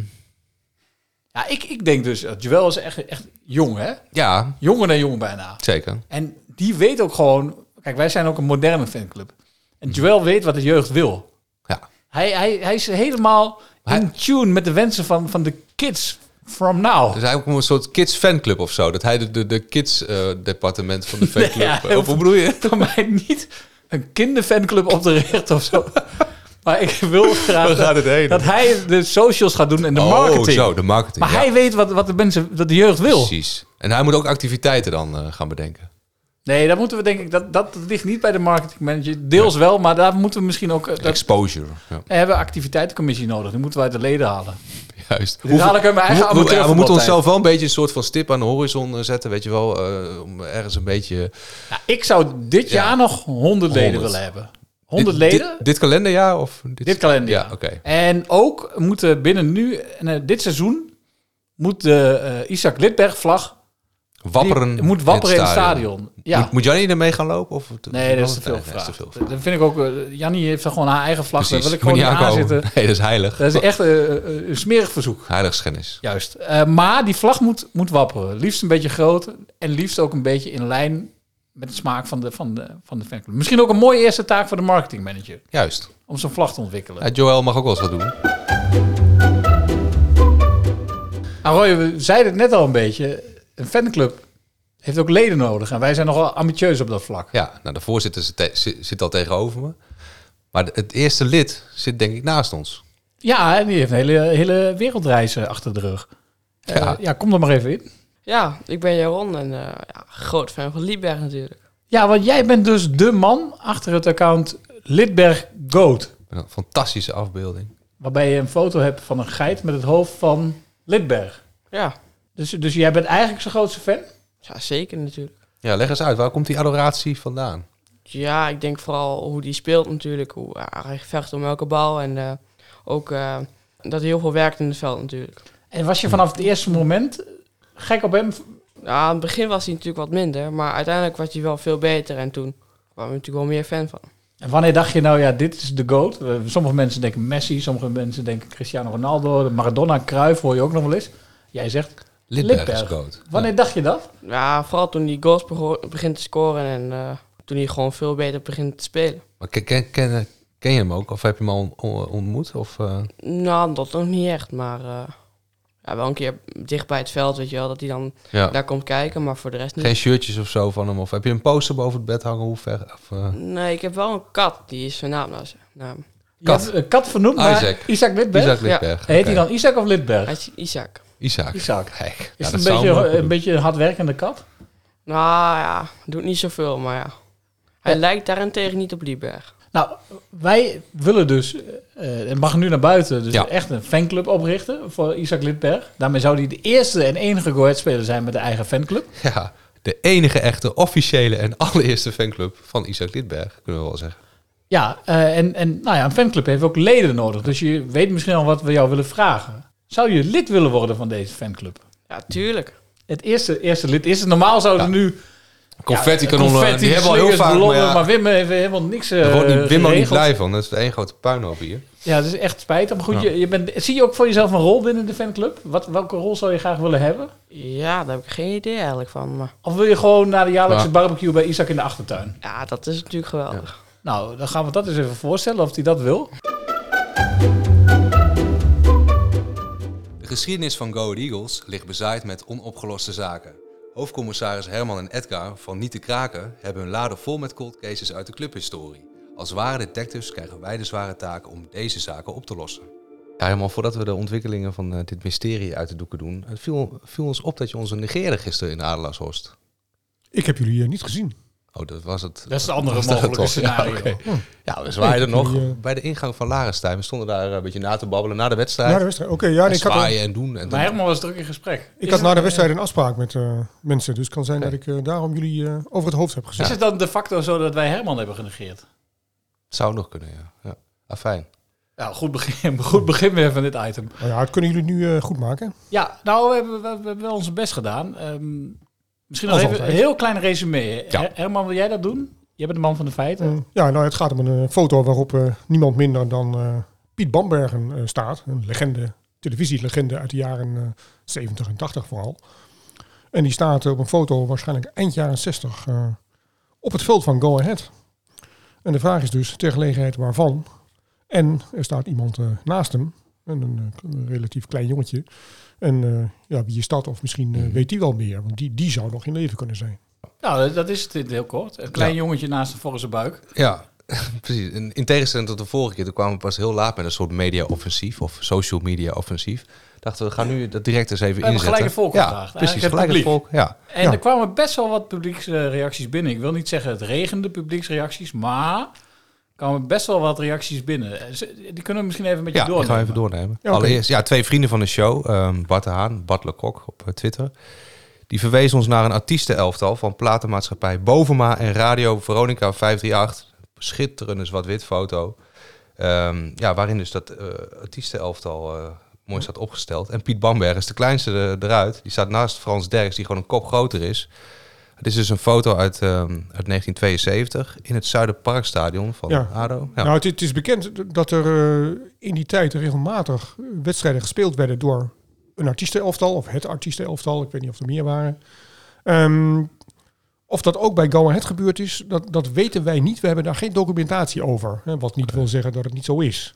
Ja, ik, ik denk dus, dat Joël is echt, echt jong, hè? ja, Jonger dan jong bijna. zeker. En die weet ook gewoon... Kijk, wij zijn ook een moderne fanclub. En Joël weet wat de jeugd wil. Ja. Hij, hij, hij is helemaal in tune met de wensen van, van de kids from now. Dus eigenlijk een soort kids fanclub of zo. Dat hij de, de, de kids eh, departement van de fanclub. Ja, eh, of hoe bedoel je? Voor mij niet een kinderfanclub op de recht of zo. Maar ik wil graag Waar gaat het heen? dat hij de socials gaat doen en de Oh, marketing. zo, de marketing, Maar ja. hij weet wat, wat de mensen, wat de jeugd wil. Precies. En hij moet ook activiteiten dan eh, gaan bedenken. Nee, dat moeten we denk ik, dat, dat ligt niet bij de marketing manager. Deels wel, maar daar moeten we misschien ook... eh, Dat, Exposure. Ja. we hebben een activiteitencommissie nodig. Die moeten we uit de leden halen. Juist. Dus haal ik uit mijn eigen Hoe- amateur hoe- ja, We voetbal moeten tijd. onszelf wel een beetje een soort van stip aan de horizon eh, zetten, weet je wel. eh, om ergens een beetje... Ik zou dit jaar nog 100 leden 100. willen hebben. 100 Dit- leden? Dit, dit kalenderjaar of... Dit, kalenderjaar. Ja, oké. En ook moeten binnen nu, en eh, dit seizoen, moet de eh, Isaac Lidberg vlag Wapperen die moet wapperen in het stadion. Ja. Moet, moet Jannie ermee gaan lopen? Of, nee, dat is te veel Nee, dat is gevraagd. te veel. Dat vind ik ook. eh, Jannie heeft daar gewoon haar eigen vlag. Precies, Daar wil ik moet gewoon niet niet aan aankomen. zitten. Nee, dat is heilig. Dat is echt eh, eh, een smerig verzoek. Heiligschennis. Juist. Eh, maar die vlag moet, moet wapperen. Liefst een beetje groot en liefst ook een beetje in lijn met de smaak van de, van de, van de fanclub. Misschien ook een mooie eerste taak voor de marketingmanager. Juist. Om zo'n vlag te ontwikkelen. Ja, Joël mag ook wel eens wat doen. Nou, Roy, we zeiden het net al een beetje. Een fanclub heeft ook leden nodig. En wij zijn nogal ambitieus op dat vlak. Ja, nou, de voorzitter zit, te- zit, zit al tegenover me. Maar de- het eerste lid zit denk ik naast ons. Ja, en die heeft een hele, hele wereldreis eh, achter de rug. Eh, Ja. ja. kom er maar even in. Ja, ik ben Jaron en eh, ja, groot fan van Liedberg natuurlijk. Ja, want jij bent dus de man achter het account Lidberg Goat. Een fantastische afbeelding. Waarbij je een foto hebt van een geit met het hoofd van Lidberg. Ja. Dus, dus jij bent eigenlijk zijn grootste fan? Ja, zeker natuurlijk. Dus Ja, leg eens uit. Waar komt die adoratie vandaan? Ja, ik denk vooral hoe die speelt natuurlijk. Hoe eh, hij vecht om elke bal en eh, ook eh, dat hij heel veel werkt in het veld natuurlijk. En was je vanaf het eerste moment gek op hem? Ja, aan het begin was hij natuurlijk wat minder, maar uiteindelijk was hij wel veel beter en toen kwam ik natuurlijk wel meer fan van. En wanneer dacht je nou, ja, dit is de GOAT? Eh, sommige mensen denken Messi, sommige mensen denken Cristiano Ronaldo, Maradona, Cruyff hoor je ook nog wel eens. Jij zegt Lidberg is GOAT. Wanneer dacht je dat? Ja, vooral toen hij goals bego- begint te scoren en eh, toen hij gewoon veel beter begint te spelen. Maar ken, ken, ken, ken je hem ook? Of heb je hem al on- ontmoet? Of, eh, Nou, dat nog niet echt, maar eh, ja, wel een keer dicht bij het veld, weet je wel, dat hij dan Ja. Nou, daar komt kijken, maar voor de rest niet. Geen shirtjes of zo van hem? Of heb je een poster boven het bed hangen? Hoe ver? Of, eh, Nee, ik heb wel een kat, die is zijn naam nou. zijn naam. Kat. Je hebt een kat vernoemd naar Isaac. Isaac Lidberg? Isaac Lidberg, Ja. Heet hij oké. dan Isaac of Lidberg? Hij is Isaac. Isaac. Isaac. Kijk, nou, is dat het een zou hem wel beetje, goed een doen. beetje een hardwerkende kat? Nou ja, doet niet zoveel, maar ja. Hij lijkt daarentegen niet op Lieberg. Nou, wij willen dus, eh en mag nu naar buiten, dus Ja. echt een fanclub oprichten voor Isaac Lidberg. Daarmee zou hij de eerste en enige Go-Ahead-speler zijn met een eigen fanclub. Ja, de enige echte officiële en allereerste fanclub van Isaac Lidberg, kunnen we wel zeggen. Ja, eh, en, en nou ja, een fanclub heeft ook leden nodig. Dus je weet misschien al wat we jou willen vragen. Zou je lid willen worden van deze fanclub? Ja, tuurlijk. Het eerste, eerste lid is het. Normaal zouden nu... Confetti ja, kanonnen, confetti, die hebben we al heel slingers, vaak, ballonnen, maar ja. maar Wim heeft helemaal niks eh Daar wordt niet, Wim ook niet geregeld. blij van, dat is de één grote puinhoop hier. Ja, dat is echt spijtig. Maar goed, Ja. je, je bent, zie je ook voor jezelf een rol binnen de fanclub? Wat, welke rol zou je graag willen hebben? Ja, daar heb ik geen idee eigenlijk van. Maar Of wil je gewoon naar de jaarlijkse Ja. barbecue bij Isaac in de achtertuin? ja, dat is natuurlijk geweldig. Nou, dan gaan we dat eens even voorstellen of hij dat wil. De geschiedenis van Go Ahead Eagles ligt bezaaid met onopgeloste zaken. Hoofdcommissaris Herman en Edgar van Niet te Kraken hebben hun laden vol met cold cases uit de clubhistorie. Als ware detectives krijgen wij de zware taak om deze zaken op te lossen. Ja, helemaal voordat we de ontwikkelingen van eh, dit mysterie uit de doeken doen, het viel, viel ons op dat je ons negeerde gisteren in Adelaarshorst. Ik heb jullie eh, niet gezien. Oh, dat was het. Dat is het andere was dat mogelijke het toch? scenario. Ja, oké. Hm. ja we Nee, zwaaiden ik heb nog jullie, eh, bij de ingang van Larenstein. We stonden daar een beetje na te babbelen na de wedstrijd. Na de wedstrijd, oké, ja, En nee, ik had al- zwaaien en doen. En Maar Herman was druk in gesprek. Ik Is had het- na de wedstrijd een afspraak met eh, mensen, dus het kan zijn Oké. dat ik eh, daarom jullie eh, over het hoofd heb gezien. Is het dan de facto zo dat wij Herman hebben genegeerd? Zou nog kunnen, ja. ja. Ah, fijn. Nou, goed begin, goed begin weer van dit item. Nou ja, het kunnen jullie nu eh, goed maken. Ja, nou, we hebben, we hebben wel ons best gedaan. Ehm, misschien nog Als even een altijd. heel klein resume. Ja. Her- Herman, wil jij dat doen? Jij bent de man van de feiten. Ja, nou, het gaat om een eh, foto waarop eh, niemand minder dan eh, Piet Bambergen eh, staat. Een legende, televisielegende uit de jaren eh, 70 en 80 vooral. En die staat op een foto waarschijnlijk eind jaren 60 eh, op het veld van Go Ahead. En de vraag is dus ter gelegenheid waarvan. En er staat iemand eh, naast hem, en een eh, relatief klein jongetje. En eh, ja, wie is dat? Of misschien eh, weet die wel meer, want die, die zou nog in leven kunnen zijn. Nou, dat- dat is het in het heel kort. Een klein Ja. jongetje naast een volgens zijn buik. Ja, precies. In, in tegenstelling tot de vorige keer, toen kwamen we pas heel laat met een soort media-offensief of social media-offensief. Dachten we, gaan nu dat direct eens We even hebben inzetten. gelijk het volk ja, gevraagd. Precies, Eigenlijk gelijk het volk. publiek. Ja. En Ja. er kwamen best wel wat publieksreacties binnen. Ik wil niet zeggen het regende publieksreacties, maar er kwamen best wel wat reacties binnen. Eh, ze- Die kunnen we misschien even met je Ja, ik doornemen. ga even doornemen. Ja, oké. Allereerst, ja, twee vrienden van de show, ehm, Bart de Haan, Bart Lecoq op eh, Twitter. Die verwezen ons naar een artiestenelftal van platenmaatschappij Bovema en Radio Veronica 538. Schitterende zwart-wit foto. Ehm, ja, waarin dus dat eh, artiestenelftal eh, mooi staat opgesteld. En Piet Bamberg is de kleinste er- eruit. Die staat naast Frans Derks, die gewoon een kop groter is. Het is dus een foto uit, ehm, uit 1972 in het Zuiderparkstadion van ADO. Ja. Nou, het, het is bekend dat er eh, in die tijd regelmatig wedstrijden gespeeld werden door een artiestenelftal of het artiestenelftal. Ik weet niet of er meer waren. Ehm, of dat ook bij Go Ahead gebeurd is, dat, dat weten wij niet. We hebben daar geen documentatie over. Hè, wat niet wil zeggen dat het niet zo is.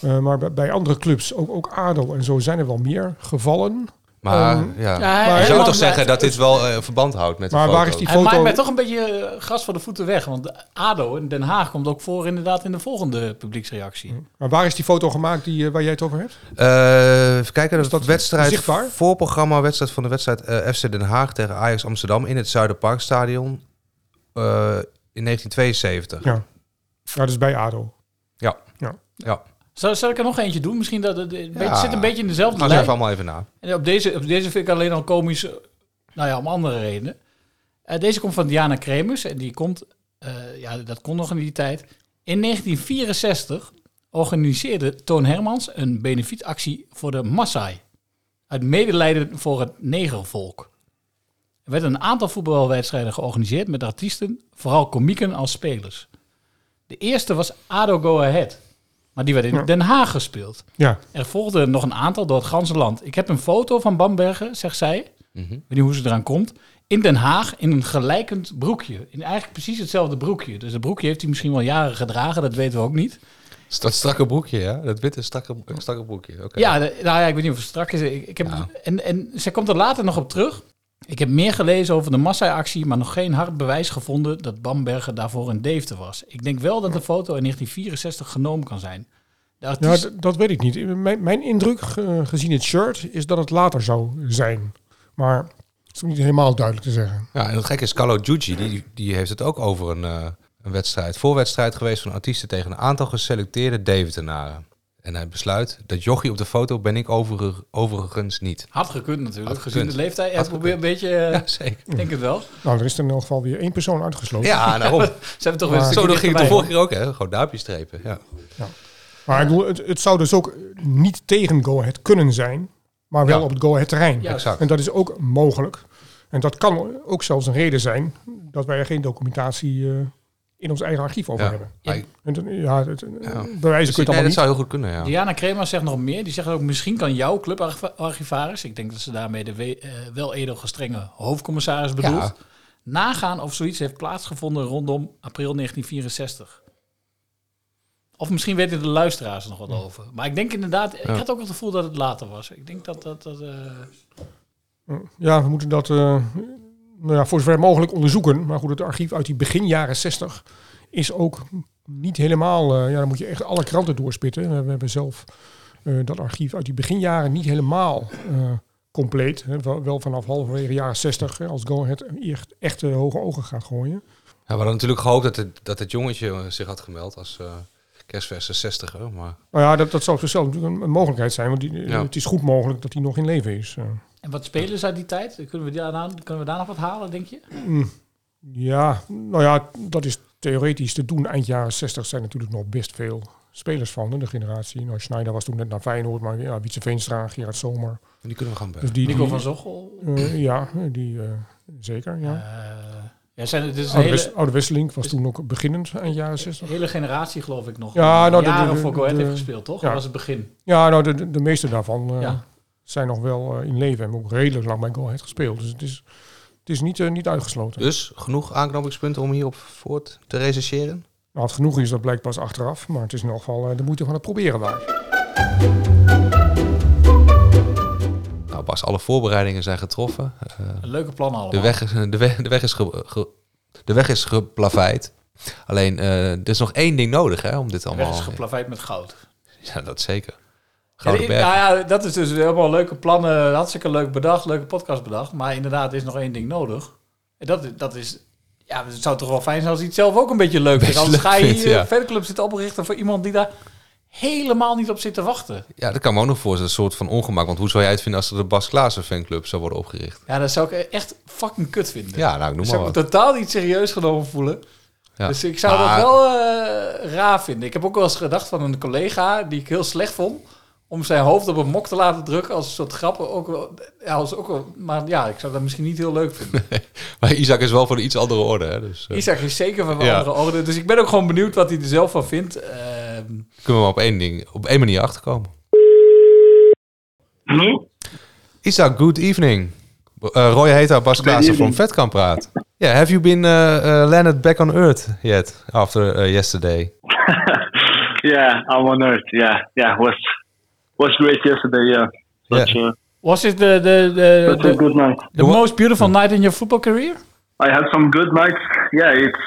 Eh, maar bij, bij andere clubs, ook, ook ADO en zo, zijn er wel meer gevallen. Maar Ehm, ja, hij- je zou hij- toch zeggen dat dit wel eh, verband houdt met de Maar foto. waar is die Hij maakt mij toch een beetje eh, gras van de voeten weg. Want ADO in Den Haag komt ook voor inderdaad in de volgende Hm. publieksreactie. maar waar is die foto gemaakt die, eh, waar jij het over hebt? Eh, even kijken, dat, dat wedstrijd, zichtbaar? voorprogramma wedstrijd van de wedstrijd eh, FC Den Haag tegen Ajax Amsterdam in het Zuiderparkstadion eh, in 1972. Ja. ja, Nou, dat is bij ADO. Ja. Ja. ja. Zal, zal ik er nog eentje doen? Misschien dat het een beetje- Ja. zit een beetje in dezelfde Gaan ze lijn. even allemaal even na. En op deze, op deze vind ik alleen al komisch, eh, nou ja, om andere redenen. Eh, deze komt van Diana Kremers en die komt, eh, ja, dat kon nog in die tijd. In 1964 organiseerde Toon Hermans een benefietactie voor de Maasai. Uit medelijden voor het negervolk. Er werden een aantal voetbalwedstrijden georganiseerd met artiesten, vooral komieken als spelers. De eerste was ADO Go Ahead. Maar die werd in Ja. Den Haag gespeeld. Ja. Er volgden nog een aantal door het ganse land. Ik heb een foto van Bambergen, zegt zij. Mhm. Ik weet niet hoe ze eraan komt. In Den Haag in een gelijkend broekje. In eigenlijk precies hetzelfde broekje. Dus dat broekje heeft hij misschien wel jaren gedragen. Dat weten we ook niet. Dat strakke broekje, ja? Dat witte strakke, strakke broekje. Oké. Ja, de- nou ja, ik weet niet of het strak is. Ik, ik heb, en, en ze komt er later nog op terug. Ik heb meer gelezen over de massa-actie, maar nog geen hard bewijs gevonden dat Bamberger daarvoor in Deventer was. Ik denk wel dat de foto in 1964 genomen kan zijn. De Ja, artiest- d- dat weet ik niet. Mijn, mijn indruk, ge- gezien het shirt, is dat het later zou zijn. Maar het is ook niet helemaal duidelijk te zeggen. Ja, en het gekke is, Carlo Giugi, die, die heeft het ook over een, eh, een wedstrijd, voorwedstrijd geweest van artiesten tegen een aantal geselecteerde Deventenaren. En hij besluit, dat jochie op de foto ben ik overig- overigens niet. Had gekund natuurlijk, Had gezien gekund. de leeftijd. Ja, Had probeer een beetje... eh, Ik denk het wel. Nou, er is er in elk geval weer één persoon uitgesloten. Ja, daarom. Ze hebben toch weer een Maar- Zo, Oh. dat ging het de dichterbij, vorige keer ook, hè? Gewoon duimpjes strepen. Ja. Maar ik bedoel, het, het zou dus ook niet tegen Go Ahead kunnen zijn, maar wel Ja. op het Go Ahead terrein. Ja, exact. En dat is ook mogelijk. En dat kan ook zelfs een reden zijn dat wij er geen documentatie eh, in ons eigen archief over Ja. hebben. Maar ik- En dan- ja, het, Dus bewijzen kun je het allemaal nee, dat niet. zou heel goed kunnen, ja. Diana Krema zegt nog meer. Die zegt ook, misschien kan jouw clubarchivaris... ik denk dat ze daarmee de we- eh, wel edelgestrenge hoofdcommissaris bedoelt... Ja. nagaan of zoiets heeft plaatsgevonden rondom april 1964. Of misschien weten de luisteraars er nog wat over. Maar ik denk inderdaad... Ik Ja. had ook het gevoel dat het later was. Ik denk dat dat... dat eh, Ja, we moeten dat eh, nou ja, voor zover mogelijk onderzoeken. Maar goed, het archief uit die begin jaren 60 is ook niet helemaal... eh, ja, dan moet je echt alle kranten doorspitten. We, we hebben zelf eh, dat archief uit die beginjaren niet helemaal eh, compleet. Hè. Wel, wel vanaf halverwege jaren 60, hè, als Go Ahead echt, echt eh, hoge ogen gaat gooien. Ja, we hadden natuurlijk gehoopt dat het, dat het jongetje eh, zich had gemeld als eh kerstverse 60er, maar... Nou ja, dat, dat zou op zichzelf natuurlijk een, een mogelijkheid zijn. Want die, eh, Ja. het is goed mogelijk dat hij nog in leven is. eh. en wat spelers uit die tijd? Kunnen we, daarna, kunnen we daar nog wat halen, denk je? Mm, Ja, nou ja, dat is theoretisch te doen. Eind jaren 60 zijn natuurlijk nog best veel spelers van hè, de generatie. Nou, Schneider was toen net naar Feyenoord, maar ja, Wietse Veenstra, Gerard Zomer. Die kunnen we gaan bellen. Dus die- Nico die- van Zochel? Eh, ja, die eh, zeker, ja. Eh, Oh, ja, zijn, het is een Oude, hele- West- Oude Westelink was toen ook beginnend eind jaren 60. De hele generatie geloof ik nog. Ja, nou, de- jaren de- de- voor Go Ahead de- heeft gespeeld, toch? ja. Dat was het begin. Ja, nou, de, de, de meeste daarvan eh, Ja. zijn nog wel eh, in leven en hebben ook redelijk lang bij Go Ahead gespeeld. Dus het is, het is niet, eh, niet uitgesloten. Dus genoeg aanknopingspunten om hierop voort te rechercheren? Nou, het genoeg is, dat blijkt pas achteraf. Maar het is in ieder geval eh, de moeite van het proberen waard. Nou Bas, alle voorbereidingen zijn getroffen. Eh, Leuke plannen allemaal. de weg, is- eh, de, weg, de, weg is ge- ge- de weg is geplaveid. Alleen, eh, er is nog één ding nodig hè, om dit De allemaal... weg is geplaveid met goud. Ja, dat zeker. Ja, Gouden die- berg. nou ja, dat is dus helemaal leuke plannen. Hartstikke leuk bedacht, leuke podcast bedacht. Maar inderdaad, er is nog één ding nodig. En dat, dat is... Ja, het zou toch wel fijn zijn als hij het zelf ook een beetje leuk vindt. Best Anders leuk ga je vindt, hier ja. een fanclub zitten oprichten voor iemand die daar helemaal niet op zit te wachten. Ja, dat kan me ook nog voorstellen. Een soort van ongemak. Want hoe zou jij het vinden als er de Bas Klaassen fanclub zou worden opgericht? Ja, dat zou ik e- echt fucking kut vinden. Ja, nou, ik noem Ze maar hebben wat. totaal niet serieus genomen voelen. Ja. Dus ik zou Maar- dat wel eh, raar vinden. Ik heb ook wel eens gedacht van een collega die ik heel slecht vond. Om zijn hoofd op een mok te laten drukken als een soort grappen. Ook wel, ja, als ook wel, maar ja, ik zou dat misschien niet heel leuk vinden. Maar Isaac is wel van een iets andere orde. Hè, dus, eh, Isaac is zeker van een Ja. andere orde. Dus ik ben ook gewoon benieuwd wat hij er zelf van vindt. Ehm, Kunnen we maar op één, ding, op één manier achterkomen. Hallo? Isaac, good evening. Eh, Roy Heta, Bas Klaassen van evening. Vetkamp praat. Yeah, have you been uh, uh, landed back on Earth yet after eh, yesterday? yeah, I'm on Earth. Yeah, yeah. Was was great yesterday. Yeah. But, uh, was it the, the, the, That's a good night. the most beautiful night in your football career? I had some good nights. Yeah, it's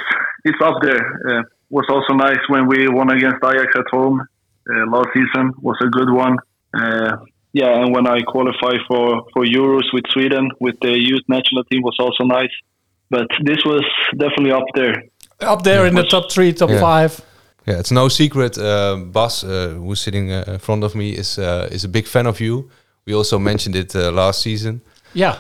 it's up there. Uh, was also nice when we won against Ajax at home uh, last season. Was a good one. Uh, yeah, and when I qualified for for Euros with Sweden with the youth national team was also nice. But this was definitely up there. Up there in the top three, top Yeah. five. Yeah, it's no secret. Uh, Bas, uh, who's sitting uh, in front of me, is uh, is a big fan of you. We also mentioned it uh, last season. Yeah.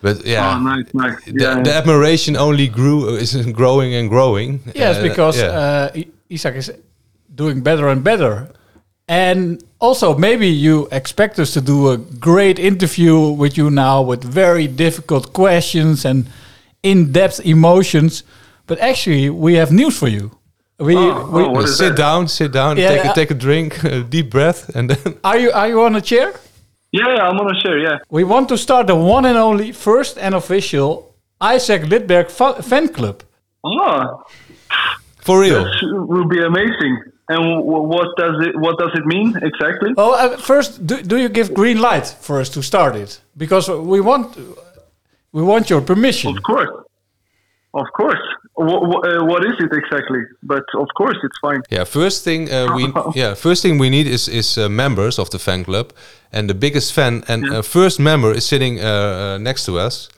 But yeah, Oh, nice, nice. the, Yeah. the admiration only grew is growing and growing. Yes, Uh, because yeah. uh, I- Isaac is doing better and better. And also, maybe you expect us to do a great interview with you now with very difficult questions and in depth emotions. But actually, we have news for you. We, Ah, we oh, Uh, sit down, sit down, Yeah, uh, take, yeah. A, take a drink, a deep breath, and then Are you are you on a chair? Yeah, yeah, I'm on a chair. Yeah. We want to start the one and only first and official Isaac Lidberg fa- fan club. Oh, for real? That will be amazing. And w- what does it what does it mean exactly? Oh, uh, first, do, do you give green light for us to start it? Because we want we want your permission. Of course. Of course. Wh- wh- uh, what is it exactly? But of course, it's fine. Yeah, first thing uh, we Oh. yeah first thing we need is is uh, members of the fan club, and the biggest fan and uh, first member is sitting uh, uh, next to us.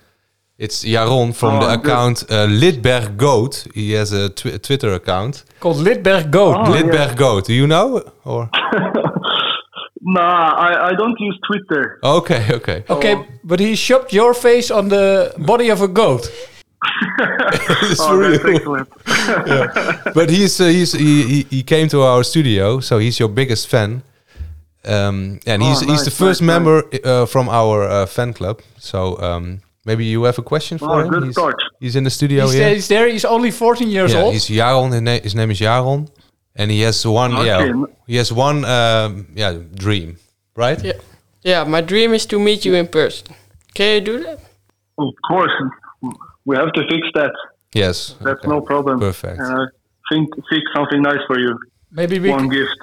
It's Jaron from Oh, the good. account uh, Lidberg Goat. He has a tw- Twitter account. Called Lidberg Goat. Oh, Lidberg Goat. Do you know or? Nah, Ah, I, I don't use Twitter. Okay, okay. Okay, but he shoved your face on the body of a goat. Oh, that's excellent. but he's uh, he's he, he he came to our studio, so he's your biggest fan, um, and Oh, he's he's nice, the first nice, member Uh, from our uh, fan club. So um, maybe you have a question for Oh, him. good he's, start. he's in the studio He's here. there, he's there. He's only 14 years yeah, old. he's Jaron. His, na- his name is Jaron, and he has one. Okay. Yeah, he has one. Um, yeah, dream, right? Yeah. yeah, my dream is to meet you in person. Can you do that? Of course, we have to fix that. Yes. That's no problem. Perfect. Uh, think fix something nice for you. Maybe we one can- gift.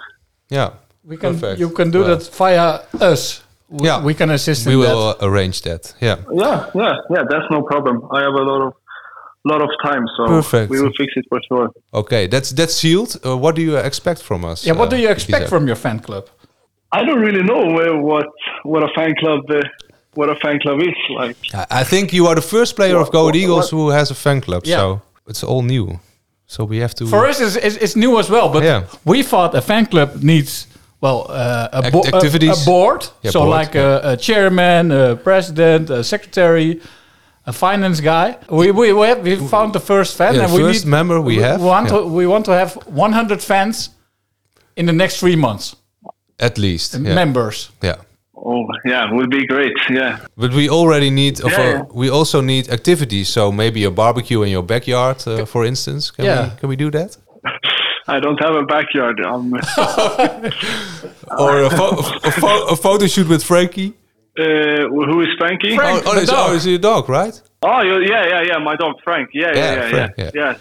Yeah. we can, perfect. You can do Well, that via us. We, Yeah. we can assist We in will uh, arrange that. Yeah. Yeah, yeah, yeah. That's no problem. I have a lot of lot of time, so Perfect. Oh, we will fix it for sure. Okay, that's that's sealed. Uh, what do you expect from us? Uh, Yeah, what do you expect from your fan club? I don't really know uh, what what a fan club uh, what a fan club is like. I think you are the first player of Go What- Eagles what- who has a fan club, Yeah. so it's all new. So we have to. that. For us, it's, it's, it's new as well. But Yeah. we thought a fan club needs well uh, a, bo- a- activities. a board. Yeah, so board, like a, a chairman, a president, a secretary, a finance guy. We we we, have, we found the first fan, Yeah, the and we first need- member we have, Want yeah. to, we want to have 100 fans in the next three months. at least yeah. Members. Yeah, Oh yeah, would be great. Yeah. but we already need. of Yeah, a- yeah. we also need activities. So maybe a barbecue in your backyard, uh, for instance. Can Yeah. we can we do that? I don't have a backyard. Um, Or a, pho- a, pho- a photo shoot with Frankie? Uh, who is Frankie? oh, oh, is, oh, is he a dog, right? Oh, you- yeah, yeah, yeah. My dog Frank. Yeah, yeah, Yeah, yeah, yeah. Frank, yeah. yeah.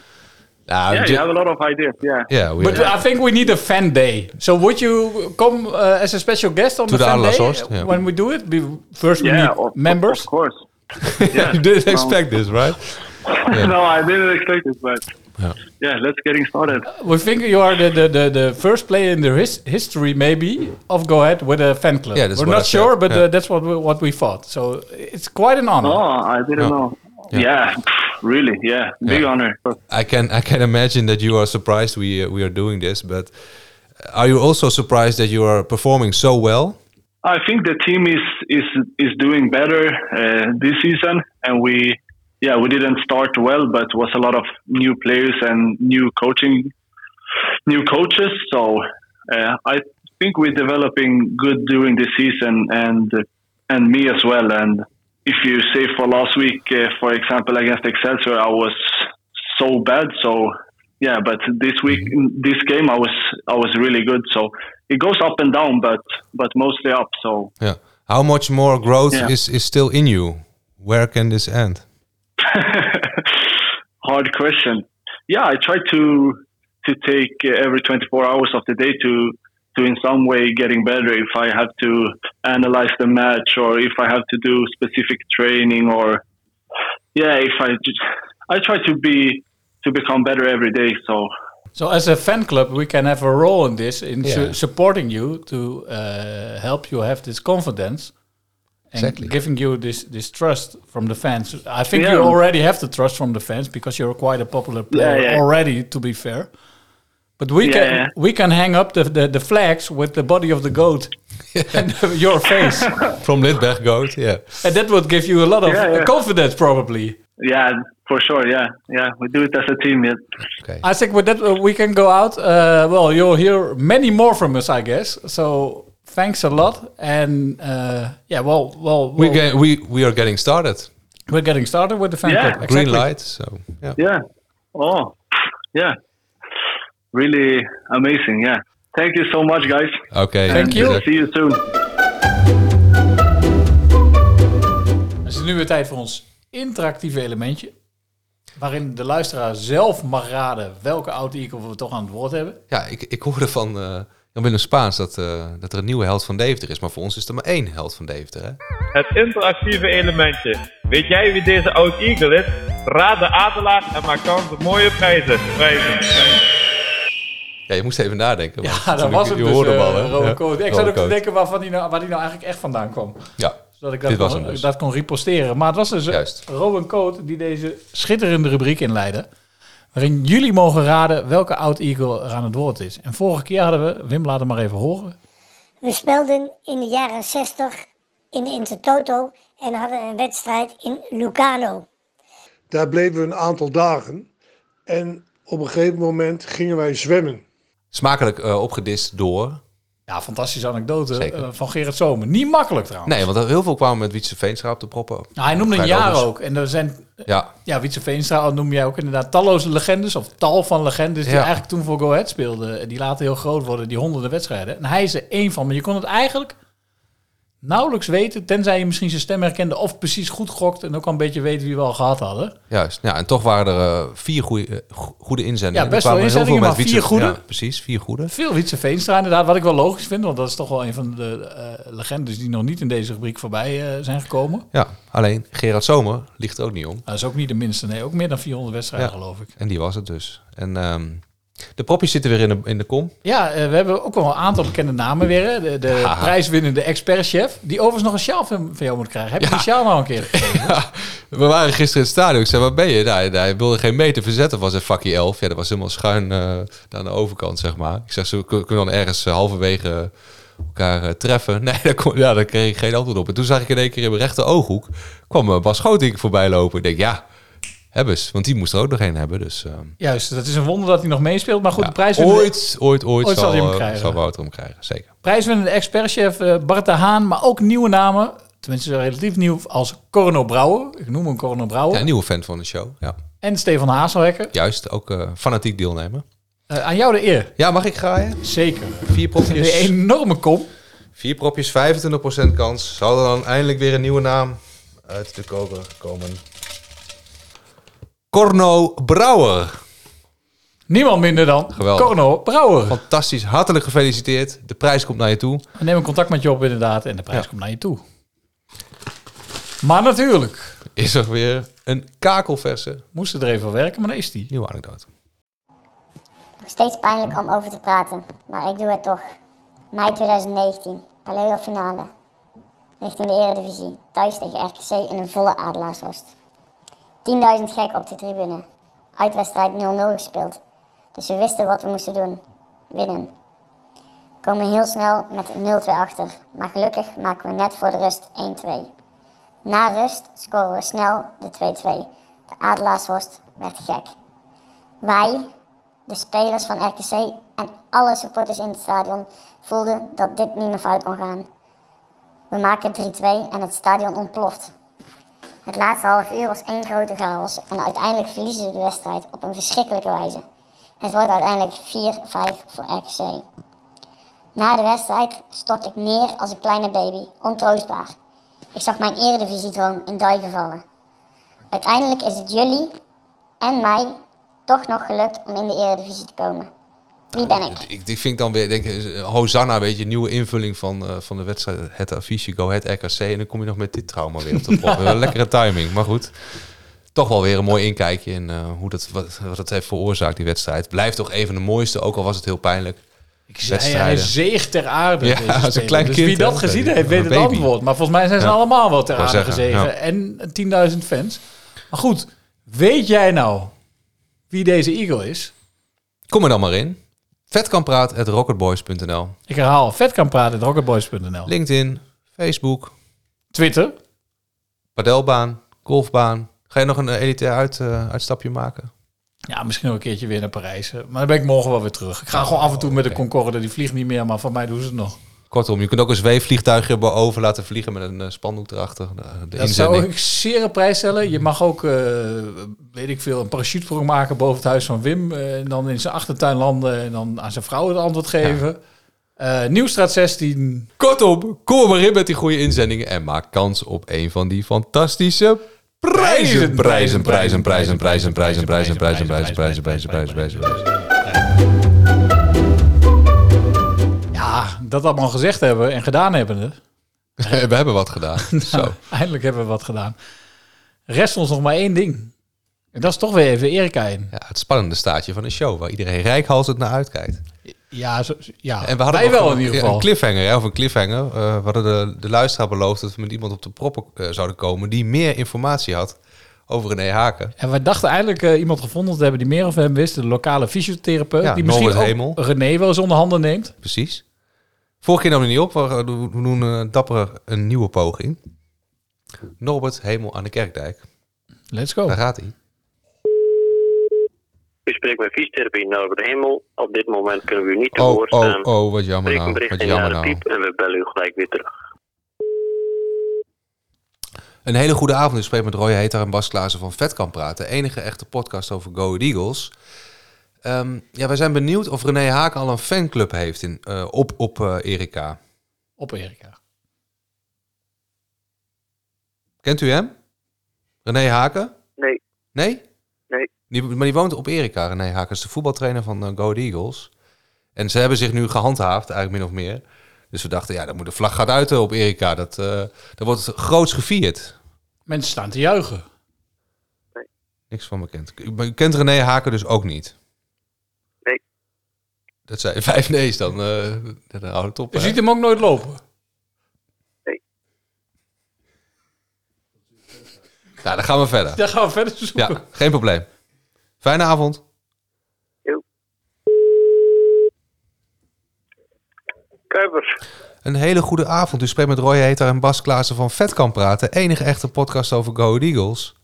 Nah, Yeah, Uh, ju- you have a lot of ideas. Yeah. yeah, we But I think we need a fan day. So would you come uh, as a special guest on To the de fan day Allershorst, yeah. when we do it? We, first, we Yeah, need members. Of course. you didn't expect this, right? Yeah. no, I didn't expect it, but Yeah. yeah, let's getting started. We think you are the, the, the, the first player in the his, history, maybe, of Go Ahead with a fan club. Yeah, that's We're what not I said, sure, but yeah. uh, that's what we, what we thought. So it's quite an honor. Oh, I didn't know. Yeah, pff, really. Yeah, big Yeah. honor. But I can I can imagine that you are surprised we uh, we are doing this, but uh, are you also surprised that you are performing so well? I think the team is is is doing better uh, this season, and we yeah we didn't start well, but was a lot of new players and new coaching, new coaches. So uh, I think we're developing good during the season, and and me as well. And if you say for last week, uh, for example, against Excelsior, I was so bad. So yeah, but this week, this game, I was I was really good. So it goes up and down, but but mostly up. So Yeah. How much more growth Yeah. is is still in you? Where can this end? hard question. Yeah, I try to to take uh, every 24 hours of the day to to in some way getting better. If I have to analyze the match, or if I have to do specific training, or yeah, if I just, I try to be to become better every day. So So as a fan club, we can have a role in this, in su- Yeah. supporting you to uh, help you have this confidence and Exactly. giving you this, this trust from the fans. I think Yeah. you already have the trust from the fans because you're quite a popular player yeah. already, to be fair. But we Yeah, can yeah. we can hang up the, the, the flags with the body of the goat and your face, From Lidberg Goat, yeah. and that would give you a lot of Yeah, uh, yeah. confidence, probably. yeah, for sure. Yeah, yeah, we do it as a team. Yeah. I think with that uh, we can go out. Uh, well, you'll hear many more from us, I guess. So thanks a lot, and uh, yeah, well, well, We well, get, we we are getting started. we're getting started with the fan Yeah. club. Green exactly. light. So yeah. Yeah. Oh, yeah. really amazing. Yeah. Thank you so much, guys. Okay. Thank And, you. uh, See you soon. Dan is het nu weer tijd voor ons interactieve elementje. Waarin de luisteraar zelf mag raden welke oude Eagle we toch aan het woord hebben. Ja, ik, ik hoorde van eh Jan-Willem Spaans dat, eh, dat er een nieuwe held van Deventer is. Maar voor ons is er maar één held van Deventer, hè? Het interactieve elementje. Weet jij wie deze oud Eagle is? Raad de adelaar en maak kans op mooie prijzen. prijzen. Ja, je moest even nadenken. Ja, want dat natuurlijk, was het je dus, hoorde hem eh, al, hè? Rode Ja, Coat. Ik Rode zat ook te Coat. denken waarvan die nou, waar die nou eigenlijk echt vandaan kwam. Ja, Zodat ik dat, dit was kon, hem dus. dat kon reporteren. Maar het was dus Juist. Rowan Coat die deze schitterende rubriek inleidde. Waarin jullie mogen raden welke oud Eagle er aan het woord is. En vorige keer hadden we, Wim laat hem maar even horen. We speelden in de jaren 60 in de Intertoto en hadden een wedstrijd in Lucano. Daar bleven we een aantal dagen. En op een gegeven moment gingen wij zwemmen. Smakelijk eh, opgedist door... Ja, fantastische anekdote Zeker. eh, van Gerrit Zomer. Niet makkelijk trouwens. Nee, want er heel veel kwamen met Wietse Veenstra op de proppen. Nou, hij noemde een Vrij jaar anders. ook. En er zijn, Ja, ja, Wietse Veenstra noem jij ook inderdaad talloze legendes. Of tal van legendes die Ja. eigenlijk toen voor Go Ahead speelden. En Die later heel groot worden, die honderden wedstrijden. En hij is er één van. Maar je kon het eigenlijk nauwelijks weten. Tenzij je misschien zijn stem herkende of precies goed gokt. En ook al een beetje weet wie we al gehad hadden. juist. Ja, en toch waren er eh, vier goeie- eh, go- goede inzendingen. Ja, best Er kwamen wel heel inzendingen, met maar Wietse- vier goede. Ja, precies, vier goede. Veel Wietse Veenstra inderdaad. Wat ik wel logisch vind. Want dat is toch wel een van de eh, legendes die nog niet in deze rubriek voorbij eh, zijn gekomen. Ja, alleen Gerard Zomer ligt er ook niet om. Dat is ook niet de minste. Nee, ook meer dan 400 wedstrijden Ja, geloof ik. En die was het dus. En ehm, de propjes zitten weer in de, in de kom. Ja, eh, we hebben ook wel een aantal bekende namen weer. Hè? De, de Ja. prijswinnende expertchef. Die overigens nog een sjaal van, van jou moet krijgen. Heb je die sjaal nou een keer gekregen? We waren gisteren in het stadion. Ik zei, waar ben je? Nou, hij- hij wilde geen meter verzetten. Was een vakje 11. Ja, dat was helemaal schuin eh, aan de overkant, zeg maar. Ik zeg, ze kunnen we dan ergens eh, halverwege elkaar eh, treffen. Nee, daar, kon, ja, daar kreeg ik geen antwoord op. En toen zag ik in één keer in mijn rechter ooghoek... kwam eh, Bas Schotink voorbij lopen. Ik denk, ja, hebben ze. Want die moest er ook nog een hebben. Dus ehm, Juist, dat is een wonder dat hij nog meespeelt. Maar goed, de prijswinnende... ooit, ooit, ooit, Ooit zal hij hem eh, krijgen. zal Wouter hem krijgen. Zeker. Prijswinnende expertchef eh, Bart de Haan. Maar ook nieuwe namen. Tenminste, relatief nieuw als Corno Brouwer. Ik noem hem Corno Brouwer. Ja, een nieuwe fan van de show. Ja. En Stefan Hazelhekker. Juist, ook eh, fanatiek deelnemen. Eh, aan jou de eer. Ja, mag ik graaien? Zeker. Vier propjes. Een enorme kom. Vier propjes, 25% kans. Zal er dan eindelijk weer een nieuwe naam uit de koker komen? Corno Brouwer. Niemand minder dan Geweldig. Corno Brouwer. Fantastisch, hartelijk gefeliciteerd. De prijs komt naar je toe. We nemen contact met je op inderdaad. En de prijs komt naar je toe. Maar natuurlijk. Is er weer een kakelverse. Moest er even werken, maar daar is die. Nieuwe anekdote. Nog steeds pijnlijk om over te praten, maar ik doe het toch. Mei 2019, Paleo finale. Richting de Eredivisie, thuis tegen RKC in een volle Adelaarshost. 10.000 gek op de tribune. Uitwedstrijd 0-0 gespeeld. Dus we wisten wat we moesten doen. Winnen. We komen heel snel met 0-2 achter, maar gelukkig maken we net voor de rust 1-2. Na rust scoren we snel de 2-2. De Adelaarshorst werd gek. Wij, de spelers van RKC en alle supporters in het stadion voelden dat dit niet meer fout kon gaan. We maken 3-2 en het stadion ontploft. Het laatste half uur was één grote chaos en uiteindelijk verliezen we de wedstrijd op een verschrikkelijke wijze. Het wordt uiteindelijk 4-5 voor RKC. Na de wedstrijd stort ik neer als een kleine baby, ontroostbaar. Ik zag mijn eredivisiedroom in duigen vallen. Uiteindelijk is het jullie en mij toch nog gelukt om in de eredivisie te komen. Wie ben ik? Ik, ik vind dan weer, denk ik, eh, Hosanna, weet je, nieuwe invulling van, eh, van de wedstrijd. Het affiche, Go Ahead RKC. En dan kom je nog met dit trauma weer op de prop. Nou. Lekkere timing, maar goed. Toch wel weer een mooi inkijkje in eh, hoe dat, wat, wat dat heeft veroorzaakt, die wedstrijd. Blijft toch een van de mooiste, ook al was het heel pijnlijk. Ik Hij, hij zeeg ter aarde. Ja, deze als een speler. klein dus kind, wie dat hè? gezien Een heeft, weet het baby. antwoord. Maar volgens mij zijn ze Ja. allemaal wel ter Wou aarde zeggen, gezegen. ja. En 10.000 fans. Maar goed, weet jij nou wie deze Eagle is? Kom er dan maar in. Vetkampraat.rocketboys.nl Ik herhaal, vet kan praten, rocketboys.nl. LinkedIn, Facebook. Twitter. Padelbaan, golfbaan. Ga je nog een eh, elitair uit, eh, uitstapje maken? Ja, misschien nog een keertje weer naar Parijs. eh, Maar dan ben ik morgen wel weer terug. Ik ga gewoon af en toe met de Concorde. Die vliegt niet meer, maar van mij doen ze het nog. Kortom, je kunt ook een zweefvliegtuigje boven laten vliegen met een eh, spandoek erachter. De, de Dat zou inzending. ik zeer op prijs stellen. Mhm. Je mag ook, eh, weet ik veel, een parachutesprong maken boven het huis van Wim. eh, en dan in zijn achtertuin landen en dan aan zijn vrouw het antwoord geven. Eh, Nieuwstraat 16. Kortom, kom er maar in met die goede inzendingen en maak kans op een van die fantastische prijzen. Prijzen, prijzen, prijzen, prijzen, prijzen, prijzen, prijzen, prijzen, prijzen, prijzen, prijzen, prijzen, prijzen. Ja, dat allemaal gezegd hebben en gedaan hebben. hè. Eh, We hebben wat gedaan. Nou, Zo. Eindelijk hebben we wat gedaan. Rest ons nog maar één ding. En dat is toch weer even Erika in. Ja, het spannende staartje van een show waar iedereen rijkhalsend naar uitkijkt. Ja, zo- ja. En we hadden wij nog wel een- in ieder ja, geval. Een cliffhanger, hè, of een cliffhanger. Eh, we hadden de, de luisteraar beloofd dat we met iemand op de proppen eh, zouden komen die meer informatie had over René Haken. En wij dachten eigenlijk eh, iemand gevonden te hebben die meer over hem wist. De lokale fysiotherapeut. Ja, die misschien Norbert ook Hemel. René wel eens onder handen neemt. Precies. Vorige keer nam hij niet op. We, we doen eh, dapper een nieuwe poging. Norbert Hemel aan de Kerkdijk. Let's go. Daar gaat hij. U spreekt bij fysiotherapie naar de hemel. Op dit moment kunnen we u niet te Oh, woord oh, staan. oh, wat jammer Spreek een nou. bericht Wat in jammer naar de nou. piep en we bellen u gelijk weer terug. Een hele goede avond. U spreekt met Roy Heter en Bas Klaassen van Vet kan praten. De enige echte podcast over Go Ahead Eagles. Ehm, ja, wij zijn benieuwd of René Haken al een fanclub heeft in, eh, op, op eh, Erika. Op Erika. Kent u hem? René Haken? Nee. Nee? Nee. Die- maar die woont op Erika, René Haken. is de voetbaltrainer van eh, Go Ahead Eagles. En ze hebben zich nu gehandhaafd, eigenlijk min of meer. Dus we dachten, ja, dan moet de vlag gaat uit eh, op Erika. Dat, eh dat wordt groots gevierd. Mensen staan te juichen. Niks van bekend. U u kent René Haken dus ook niet? Nee. Dat zijn vijf nee's, dan, eh dan houdt het op. Je hè? ziet hem ook nooit lopen. Ja, Nou, dan gaan we verder. Daar gaan we verder zoeken. Ja, geen probleem. Fijne avond. Kuipers. Een hele goede avond. U spreekt met Roy Heter en Bas Klaassen van Vet kan praten. Enige echte podcast over Go Ahead Eagles.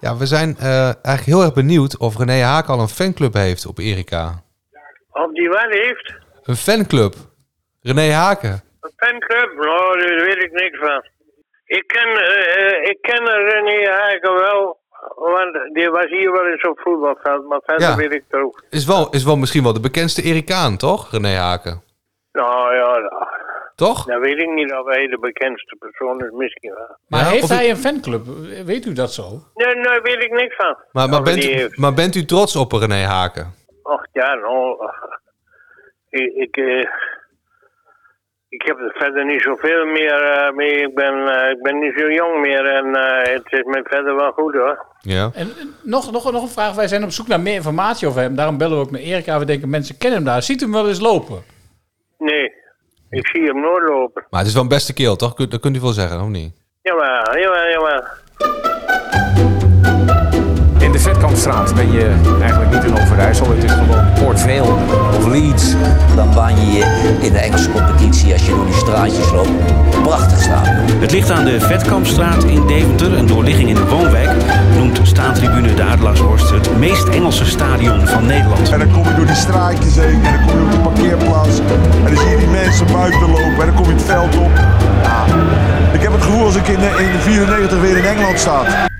Ja, we zijn eh, eigenlijk heel erg benieuwd of René Haak al een fanclub heeft op Erika. Of die wel heeft? Een fanclub. René Haken. Een fanclub? Nou, daar weet ik niks van. Ik ken, eh, eh, ik ken René Haken wel, want die was hier wel eens op voetbalveld, maar verder Ja. weet ik er ook. Is wel, is wel misschien wel de bekendste Erikaan, toch? René Haken. Nou ja, nou, Toch? dan weet ik niet of hij de bekendste persoon is, misschien wel. Maar Ja, heeft of- hij een fanclub? Weet u dat zo? Nee, nee, weet ik niks van. Maar, maar, Of bent, die u, heeft. maar bent u trots op René Haken? Och ja, nou. Ik, ik, eh, ik heb er verder niet zoveel meer eh, mee. Ik ben, eh, ik ben niet zo jong meer en eh, het is me verder wel goed hoor. Ja. En eh, nog, nog, nog een vraag. Wij zijn op zoek naar meer informatie over hem. Daarom bellen we ook met Erika. We denken, mensen kennen hem daar. Ziet hem wel eens lopen. Nee, ik zie hem nooit lopen. Maar het is wel een beste keel, toch? Kun- Dat kunt u wel zeggen, of niet? Jawel, jawel, jawel. In de Vetkampstraat ben je eigenlijk niet in Overijssel. Het is gewoon Port Vale of Leeds. Dan baan je je in de Engelse competitie als je door die straatjes loopt. Prachtig stadion. Het ligt aan de Vetkampstraat in Deventer, een doorligging in de woonwijk. Noemt staantribune de Adelaarshorst het meest Engelse stadion van Nederland. En dan kom je door die straatjes heen en dan kom je op de parkeerplaats. En dan zie je die mensen buiten lopen en dan kom je het veld op. Ja, ik heb het gevoel als ik in, eh, in 94 weer in Engeland sta.